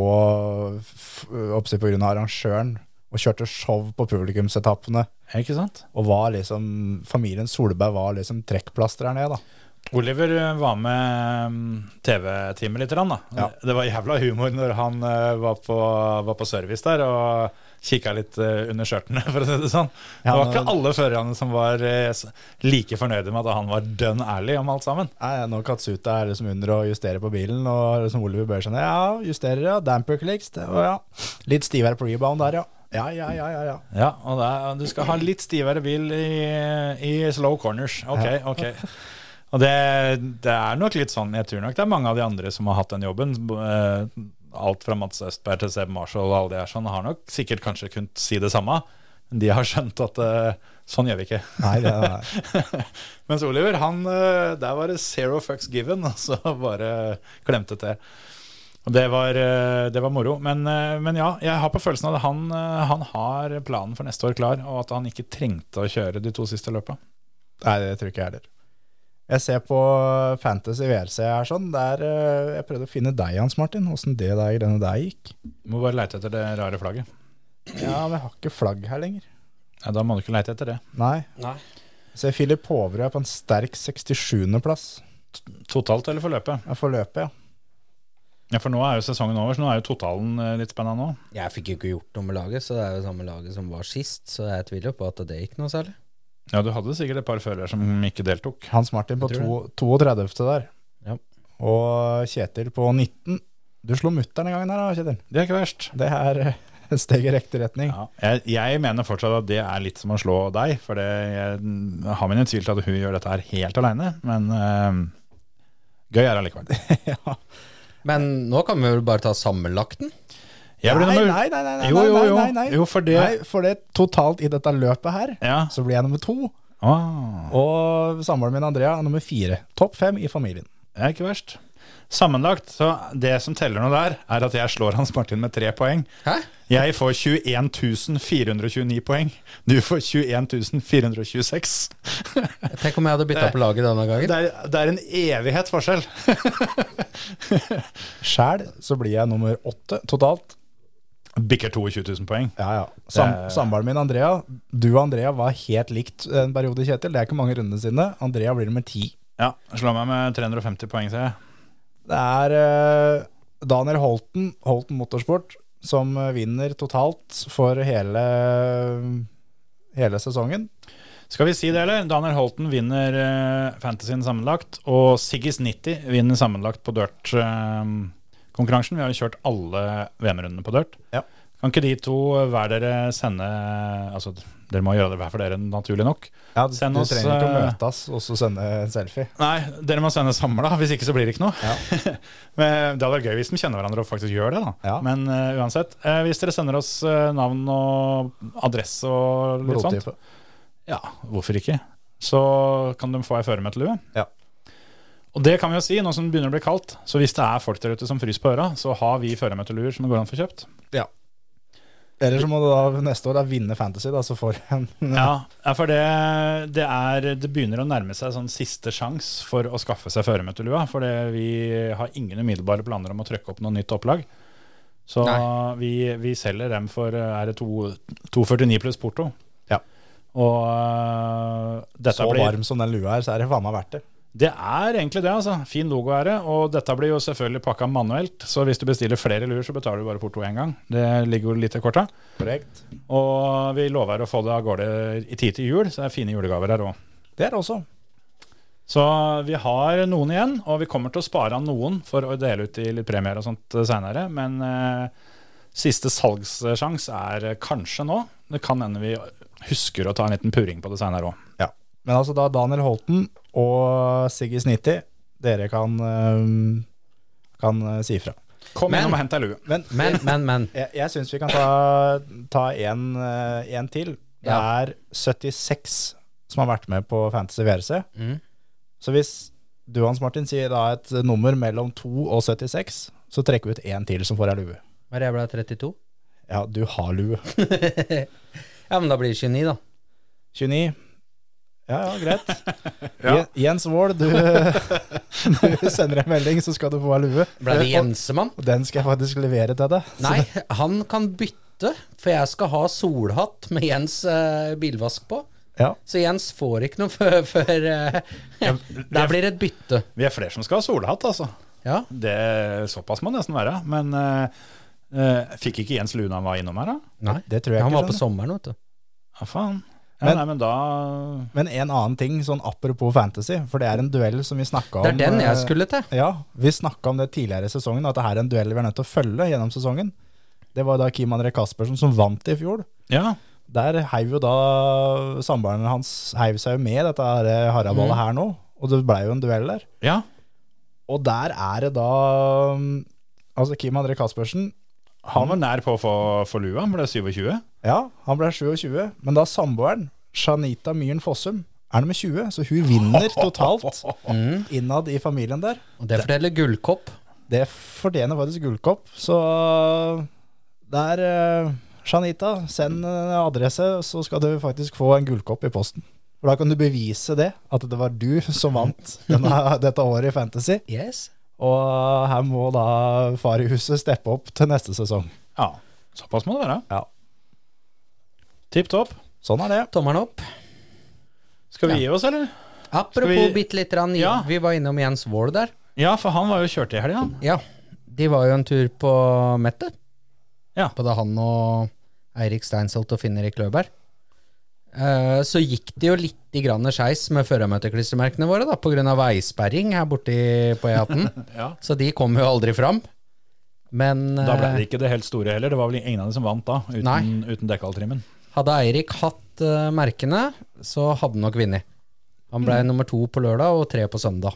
Speaker 4: f- oppsett på grunn av arrangøren og kjørte show på publikumsetappene.
Speaker 3: Ikke sant?
Speaker 4: Og var liksom, familien Solberg var liksom trekkplaster her nede, da.
Speaker 3: Oliver eh, var med mm, TV-teamet litt. grann, Da.
Speaker 4: Ja.
Speaker 3: Det var jævla humor når han eh, var på, var på service der og kikka litt eh, under skjørtene, for å si det sånn. Det
Speaker 4: Ja,
Speaker 3: var
Speaker 4: men-
Speaker 3: ikke alle førerne som var eh, s- like fornøyde med at han var dønn ærlig om alt sammen.
Speaker 4: Nei, Når Katsuta er liksom under å justere på bilen, og liksom Oliver bøyer seg ned Ja, justerer, ja. Damper clicks. Det, og ja. Litt stivere på rebound der, ja. Ja, ja, ja, ja. ja.
Speaker 3: Ja, og det er, du skal ha litt stivere bil i, i slow corners. Ok, ok. Og det, det er nok litt sånn, jeg tror nok det er mange av de andre som har hatt den jobben. eh, Alt fra Mats Østberg til Seb Marshall og alle de her sånn, har nok sikkert kanskje kunnet si det samme. Men de har skjønt at eh, sånn gjør vi ikke.
Speaker 4: Nei, det er
Speaker 3: Mens Oliver, han, eh, der var det zero fucks given, og så bare klemte til. Og det var, eh, det var moro. Men, eh, men ja, jeg har på følelsen av at han, eh, han har planen for neste år klar, og at han ikke trengte å kjøre de to siste løpa.
Speaker 4: Nei, det tror ikke jeg heller. Jeg ser på Fantasy VRC her sånn. Der, eh, jeg prøvde å finne deg, Hans Martin, åssen det der greiene der gikk.
Speaker 3: Må bare leite etter det rare flagget.
Speaker 4: Ja, men jeg har ikke flagg her lenger.
Speaker 3: Ja, da må du ikke leite etter det.
Speaker 4: Nei.
Speaker 5: Nei.
Speaker 4: Så Filip Håvrud er på en sterk 67.-plass.
Speaker 3: Totalt eller for løpet?
Speaker 4: Jeg får løpe, ja.
Speaker 3: Ja, for nå er jo sesongen over, så nå er jo totalen eh, litt spennende nå.
Speaker 5: Jeg fikk jo ikke gjort noe med laget, så det er jo samme laget som var sist, så jeg tviler jo på at det gikk noe særlig.
Speaker 3: Ja, du hadde sikkert et par førere som ikke deltok.
Speaker 4: Hans Martin på
Speaker 5: Jeg tror
Speaker 4: 32. der.
Speaker 5: Ja.
Speaker 4: Og Kjetil på 19. Du slo mutter'n en gang der, da, Kjetil.
Speaker 3: Det er ikke verst.
Speaker 4: Det er eh, et steg i riktig retning.
Speaker 3: Ja, jeg, jeg mener fortsatt at det er litt som å slå deg, for det, jeg, jeg har mine tvil til at hun gjør dette her helt aleine, men eh, gøy er det allikevel.
Speaker 5: Men nå kan vi vel bare ta sammenlagten?
Speaker 3: Jeg
Speaker 4: Nei,
Speaker 3: ble
Speaker 4: nei,
Speaker 3: nummer-
Speaker 4: nei, nei, nei,
Speaker 3: Jo, jo,
Speaker 4: nei,
Speaker 3: jo.
Speaker 4: nei, nei.
Speaker 3: Jo, for det
Speaker 4: Nei, for det totalt i dette løpet her,
Speaker 3: Ja.
Speaker 4: så blir jeg nummer to.
Speaker 3: Ah,
Speaker 4: Og samboeren min Andrea er nummer fire. Topp fem i familien.
Speaker 3: det er ikke verst. Sammenlagt, så det som teller noe der, er at jeg slår Hans Martin med tre poeng.
Speaker 5: Hæ?
Speaker 3: Jeg får 21 429 poeng. Du får 21 426.
Speaker 5: Tenk om jeg hadde bytta på laget denne gangen.
Speaker 3: Det er, det er en evighet forskjell.
Speaker 4: Sjæl så blir jeg nummer åtte totalt.
Speaker 3: Bikker 22 000 poeng.
Speaker 4: Ja, ja. Sam,
Speaker 3: Det-
Speaker 4: Samboeren min Andrea, du og Andrea var helt likt en periode, Kjetil. Det er ikke mange rundene sine. Andrea blir nummer ti.
Speaker 3: Ja, slår meg med 350 poeng, sier jeg.
Speaker 4: Det er eh, Daniel Holten, Holten Motorsport, som eh, vinner totalt for hele, hele sesongen.
Speaker 3: Skal vi si det, eller? Daniel Holten vinner eh, Fantasyen sammenlagt, og Siggis 90 vinner sammenlagt på dirt-konkurransen. Vi har jo kjørt alle VM-rundene på dirt.
Speaker 4: Ja.
Speaker 3: Kan ikke de to eh, hver dere sende Altså, dere må gjøre det hver for dere, naturlig nok.
Speaker 4: Ja, du,
Speaker 3: Send
Speaker 4: du
Speaker 3: oss,
Speaker 4: trenger ikke å
Speaker 3: eh,
Speaker 4: møtes og så sende en selfie.
Speaker 3: Nei, dere må sende samla, hvis ikke så blir det ikke noe. Men eh, det hadde vært gøy hvis de kjenner hverandre og faktisk gjør det, da.
Speaker 4: Ja.
Speaker 3: Men eh, uansett. eh, hvis dere sender oss eh, navn og adresse og litt sånt,
Speaker 4: Blodtype.
Speaker 3: Ja, hvorfor ikke? Så kan de få ei føremøtelue.
Speaker 4: Ja.
Speaker 3: Og det kan vi jo si, nå som det begynner å bli kaldt. Så hvis det er folk der ute som fryser på øra, så har vi føremøteluer som det går an å få kjøpt.
Speaker 4: Eller så må du da neste år da vinne Fantasy, da, så får du en
Speaker 3: Ja, ja, for det, det, er, det begynner å nærme seg sånn siste sjans for å skaffe seg føremøtelua. For det- vi har ingen umiddelbare planer om å trykke opp noe nytt opplag. Så
Speaker 5: Nei.
Speaker 3: vi, vi selger dem for eh, er det to- 249 pluss porto.
Speaker 4: Ja.
Speaker 3: Og eh, dette
Speaker 4: så
Speaker 3: blir
Speaker 4: varm som den lua er, så er det faen meg verdt det.
Speaker 3: Det er egentlig det, altså. Fin logo er det. Og dette blir jo selvfølgelig pakka manuelt, så hvis du bestiller flere luer, så betaler du bare porto én gang. Det ligger jo litt i korta.
Speaker 4: Korrekt.
Speaker 3: Og vi lover å få det av gårde i tid til jul, så det er fine julegaver her òg.
Speaker 4: Det er det også.
Speaker 3: Så vi har noen igjen, og vi kommer til å spare av noen for å dele ut i litt premier og sånt seinere. Men eh, siste salgssjans er eh, kanskje nå. Det kan hende vi husker å ta en liten puring på det seinere òg.
Speaker 4: Ja. Men altså da Daniel Holten og Siggy Snitti, dere kan, eh, kan eh, si ifra.
Speaker 3: Kom
Speaker 5: Men-
Speaker 3: inn og hent ei lue.
Speaker 4: Men
Speaker 5: Men, men, men.
Speaker 4: jeg, jeg syns vi kan ta, ta en, eh, en til. Det
Speaker 5: Ja.
Speaker 4: er 76 som har vært med på Fantasy VRC.
Speaker 5: Mm.
Speaker 4: Så hvis du Hans Martin sier da et nummer mellom 2 og 76, så trekker vi ut én til som får ei lue.
Speaker 5: Hva er det jeg ble 32?
Speaker 4: Ja, du har lue.
Speaker 5: Ja, men da blir det 29, da.
Speaker 4: 29. Ja, ja, greit. Je- Jens Wold, du, du sender en melding, så skal du få ei lue.
Speaker 5: Ble det
Speaker 4: Eh, Og-
Speaker 5: Jensemann?
Speaker 4: Og den skal jeg faktisk levere til deg. Så
Speaker 5: Nei, han kan bytte, for jeg skal ha solhatt med Jens eh, bilvask på.
Speaker 4: Ja.
Speaker 5: Så Jens får ikke noe før, før eh, Der blir det et bytte.
Speaker 3: Vi er flere som skal ha solhatt, altså.
Speaker 5: Ja.
Speaker 3: Det Såpass må det nesten være. Men eh, eh, fikk ikke Jens Luna han var innom her, da?
Speaker 5: Nei.
Speaker 4: Det tror jeg
Speaker 5: han
Speaker 4: ikke, sånn,
Speaker 5: var på
Speaker 4: skjønner.
Speaker 5: sommeren, vet du.
Speaker 3: Ja, faen. Ja,
Speaker 4: Men-
Speaker 3: nei, men da
Speaker 4: Men en annen ting, sånn apropos fantasy, for det er en duell som vi snakka om
Speaker 5: Det er den
Speaker 4: eh,
Speaker 5: jeg skulle til.
Speaker 4: Ja, vi snakka om det tidligere i sesongen, at det her er en duell vi er nødt til å følge gjennom sesongen. Det var da Kim André Kaspersen som vant i fjor.
Speaker 3: Ja.
Speaker 4: Der heiv jo da samboeren hans heiv seg jo med dette her haraballet
Speaker 5: Mm.
Speaker 4: her nå, og det blei jo en duell der.
Speaker 3: ja.
Speaker 4: Og der er det da um, Altså, Kim André Kaspersen
Speaker 3: Han
Speaker 5: Mm.
Speaker 3: var nær på å få, få lua, han ble 27.
Speaker 4: Ja, han ble 27, men da samboeren, Shanita Myhren Fossum, er nummer 20, så hun vinner totalt
Speaker 5: Mm.
Speaker 4: innad i familien der.
Speaker 5: Og det forteller Gullkopp.
Speaker 4: Det fortjener faktisk gullkopp, så der eh, Shanita, send eh, adresse, så skal du faktisk få en gullkopp i posten. For da kan du bevise det, at det var du som vant denne, dette året i Fantasy.
Speaker 5: Yes.
Speaker 4: Og her må da far i huset steppe opp til neste sesong.
Speaker 3: Ja, såpass må det være.
Speaker 4: Ja.
Speaker 3: Tipp topp.
Speaker 4: Sånn er det.
Speaker 5: Tommelen opp.
Speaker 3: Skal vi
Speaker 5: Ja.
Speaker 3: gi oss, eller?
Speaker 5: Apropos
Speaker 3: vi-
Speaker 5: bitte lite grann,
Speaker 3: Ja.
Speaker 5: vi var innom Jens Wold der.
Speaker 3: Ja, for han var jo kjørt i helga. han.
Speaker 5: Ja, de var jo en tur på Mette.
Speaker 3: Ja.
Speaker 5: På da han og Eirik Steinsholt og Finn-Erik Løberg. Eh, Så gikk det jo litt i grann skeis med førermøteklistremerkene våre, da, pga. veisperring her borte i- på E18.
Speaker 3: Ja.
Speaker 5: Så de kom jo aldri fram. Men
Speaker 3: Da ble
Speaker 5: eh,
Speaker 3: det ikke det helt store heller. Det var vel ingen av dem som vant da, uten,
Speaker 5: Nei.
Speaker 3: uten dekkhaltrimmen.
Speaker 5: eh, hadde Eirik hatt eh, merkene, så hadde han nok vunnet. Han
Speaker 3: Mm.
Speaker 5: ble nummer to på lørdag og tre på søndag.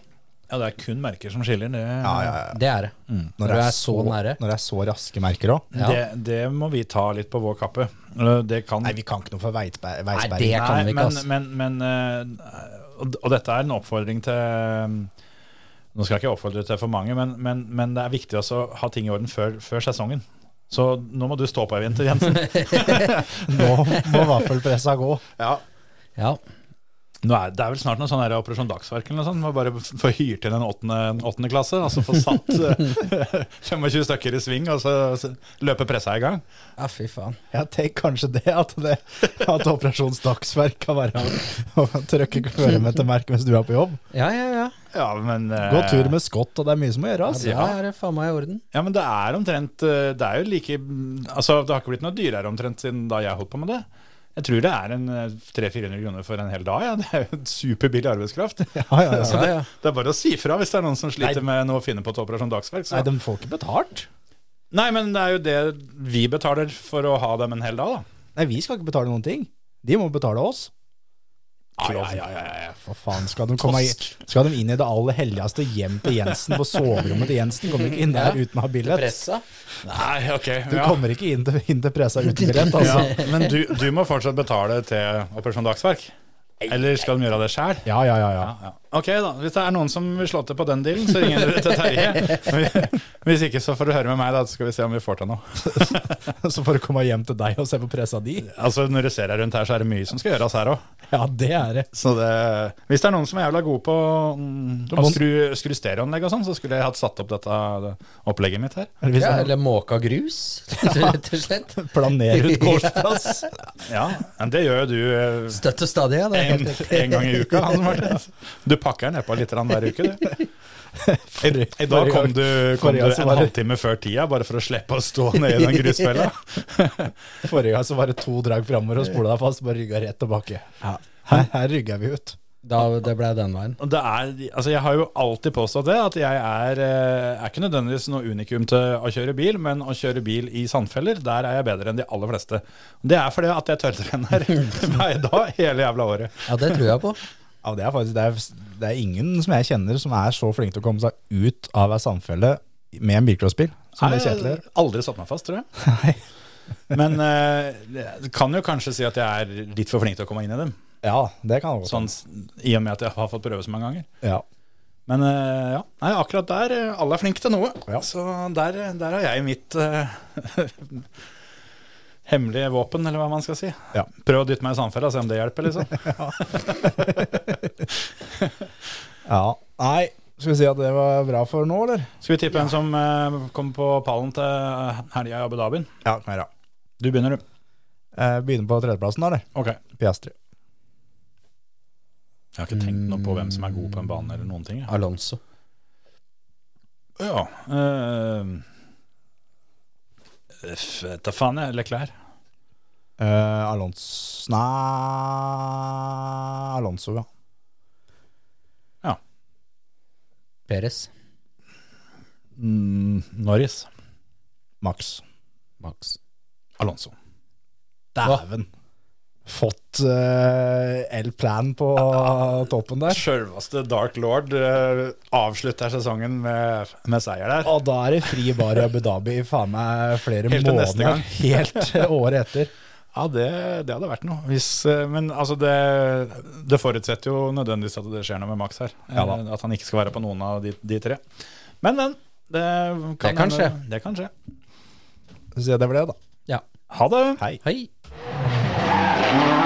Speaker 3: Ja, det er kun merker som skiller. Det,
Speaker 5: Det er Mm. det. Når du er så nære.
Speaker 4: Når det er så raske merker òg.
Speaker 5: Ja.
Speaker 3: det, det må vi ta litt på vår kappe. Eller, Det kan
Speaker 4: Nei, vi kan ikke noe for veisper-
Speaker 5: Nei,
Speaker 4: veisperring.
Speaker 5: det kan
Speaker 3: Nei,
Speaker 5: vi ikke,
Speaker 3: men,
Speaker 5: altså.
Speaker 3: men, men eh, og, og dette er en oppfordring til mm, Nå skal jeg ikke oppfordre til for mange, men, men, men det er viktig også å ha ting i orden før, før sesongen. Så nå må du stå på i vinter, Jensen.
Speaker 4: Nå må vaffelpressa gå.
Speaker 5: Ja.
Speaker 3: Nå er, det er vel snart noe sånn her Operasjon Dagsverk eller noe sånt. Må bare f- få hyrt inn en åttende, en åttende klasse, og så få satt eh, 25 stykker i sving, og så, så løpe pressa i gang.
Speaker 5: ja, fy faen.
Speaker 4: Jeg tenker kanskje det, at, det, at Operasjon Dagsverk kan være å trykke føremøtemerket mens du er på jobb.
Speaker 5: Ja, ja, ja.
Speaker 3: Ja, men eh,
Speaker 4: Gå tur med skott, og det er mye som må gjøres.
Speaker 5: Ja, da er det faen meg i orden.
Speaker 3: Ja, men det er omtrent eh, Det er jo like Altså, det har ikke blitt noe dyrere omtrent siden da jeg holdt på med det. Jeg tror det er en eh, 300-400 kroner for en hel dag. Ja. Det er jo en superbillig arbeidskraft.
Speaker 4: Ja, ja, ja.
Speaker 3: Så det,
Speaker 5: Ja, ja.
Speaker 3: det er bare å si fra hvis det er noen som sliter med noe å finne på et Operasjon Dagsverk. Så.
Speaker 4: Nei,
Speaker 3: Nei,
Speaker 4: de får ikke betalt.
Speaker 3: men det er jo det vi betaler for å ha dem en hel dag, da.
Speaker 4: Nei, vi skal ikke betale noen ting. De må betale oss.
Speaker 3: Ja, ja, ja, ja, ja.
Speaker 4: Hva faen, skal de, komme, i- skal de inn i det aller helligste hjem til Jensen, på soverommet til Jensen? Kommer ikke inn der uten å ha billett.
Speaker 5: Pressa.
Speaker 3: Nei, ok.
Speaker 4: Du
Speaker 3: ja.
Speaker 4: kommer ikke inn til, inn til pressa uten billett, altså.
Speaker 3: Ja, men du, du må fortsatt betale til Operasjon Dagsverk. Eller skal de gjøre det sjæl?
Speaker 4: Ja, ja, ja. ja.
Speaker 3: Ja. Ok, da. Hvis det er noen som vil slå til på den dealen, så ringer dere til Terje. Hvis ikke, så får du høre med meg, da. Så skal vi se om vi får til noe.
Speaker 4: Så får du komme hjem til deg og se på pressa di.
Speaker 3: Altså, Når du ser deg rundt her, så er det mye som skal gjøres her òg.
Speaker 4: Ja, det er det.
Speaker 3: Så det, hvis det er noen som er jævla god på mm, å skru, skru stereoanlegg og sånn, så skulle jeg hatt satt opp dette det opplegget mitt her.
Speaker 4: Eller hvis
Speaker 5: Ja,
Speaker 4: jeg
Speaker 5: eller måka grus, rett og slett.
Speaker 4: planerer ut gårdsplass.
Speaker 3: Ja, men det gjør jo du eh,
Speaker 5: Støtt og stadig, ja. Det er
Speaker 3: en,
Speaker 5: helt riktig.
Speaker 3: en gang i uka. Hans Martin. Du pakker den nedpå litt grann hver uke, du. I, i dag
Speaker 4: forrige
Speaker 3: kom
Speaker 4: gang-
Speaker 3: du, kom du
Speaker 4: forrige gang så
Speaker 3: en
Speaker 4: var det-
Speaker 3: halvtime før tida, bare for å slippe å stå ned i den grusfella.
Speaker 4: Forrige gang så var det to drag framover og spola deg fast, bare rygga rett tilbake. Her, her rygga vi ut.
Speaker 5: Da, det ble den veien.
Speaker 3: Og Det er, altså jeg har jo alltid påstått det, at jeg er, eh, er ikke nødvendigvis noe unikum til å kjøre bil, men å kjøre bil i sandfeller, der er jeg bedre enn de aller fleste. Det er fordi at jeg tørrtrener hver dag hele jævla året.
Speaker 5: Ja, det tror jeg på.
Speaker 4: Ja, det, er faktisk, det, er, det er ingen som jeg kjenner som er så flink til å komme seg ut av ei samfelle med en bilcrossbil. Som det
Speaker 3: Jeg
Speaker 4: Kjetil
Speaker 3: har
Speaker 4: gjør.
Speaker 3: aldri satt meg fast, tror jeg. Men eh, jeg kan jo kanskje si at jeg er litt for flink til å komme inn i dem,
Speaker 4: Ja, det kan jeg godt.
Speaker 3: sånn, s- i og med at jeg har fått prøve så mange ganger.
Speaker 4: Ja.
Speaker 3: Men eh, ja, Nei, akkurat der eh, Alle er flinke til noe.
Speaker 4: Ja.
Speaker 3: Så der, der har jeg mitt eh, hemmelige våpen, eller hva man skal si.
Speaker 4: Ja.
Speaker 3: Prøv å dytte meg i sandfella, se om det hjelper, liksom.
Speaker 4: Ja. Nei, skal vi si at det var bra for nå, eller?
Speaker 3: Skal vi tippe en som eh, kom på pallen til helga i Abu Dhabi?
Speaker 4: Ja, kan vi gjøre.
Speaker 3: Du begynner, du.
Speaker 4: Eh, Begynner på tredjeplassen, da, eller?
Speaker 3: Ok.
Speaker 4: Piastri.
Speaker 3: Jeg har ikke tenkt noe på hvem som er god på en bane eller noen ting. jeg.
Speaker 5: Alonso.
Speaker 3: Ja. Uh, ta faen, jeg. Leclerc.
Speaker 4: Eh, Alonso Nei Alonso, ja.
Speaker 5: Perez.
Speaker 3: Mm, Norris.
Speaker 4: Max.
Speaker 5: Max.
Speaker 3: Alonso.
Speaker 4: Dæven. Fått eh, El Plan på toppen der.
Speaker 3: Sjølveste Dark Lord eh, avslutter sesongen med, med seier der.
Speaker 4: Og da er det fri bar i Abu Dhabi i faen meg flere
Speaker 3: Helt til neste
Speaker 4: måneder.
Speaker 3: gang.
Speaker 4: Helt året etter.
Speaker 3: Ja, det, det hadde vært noe. Hvis, eh, men altså, det, det forutsetter jo nødvendigvis at det skjer noe med Max her.
Speaker 4: Ja da.
Speaker 3: Eh, At han ikke skal være på noen av de, de tre. Men, men. Det kan,
Speaker 5: Det kan
Speaker 3: hende-
Speaker 5: skje.
Speaker 3: Det kan skje.
Speaker 4: Så sier jeg det var det, da.
Speaker 5: Ja.
Speaker 3: Ha det.
Speaker 4: Hei.
Speaker 5: Hei.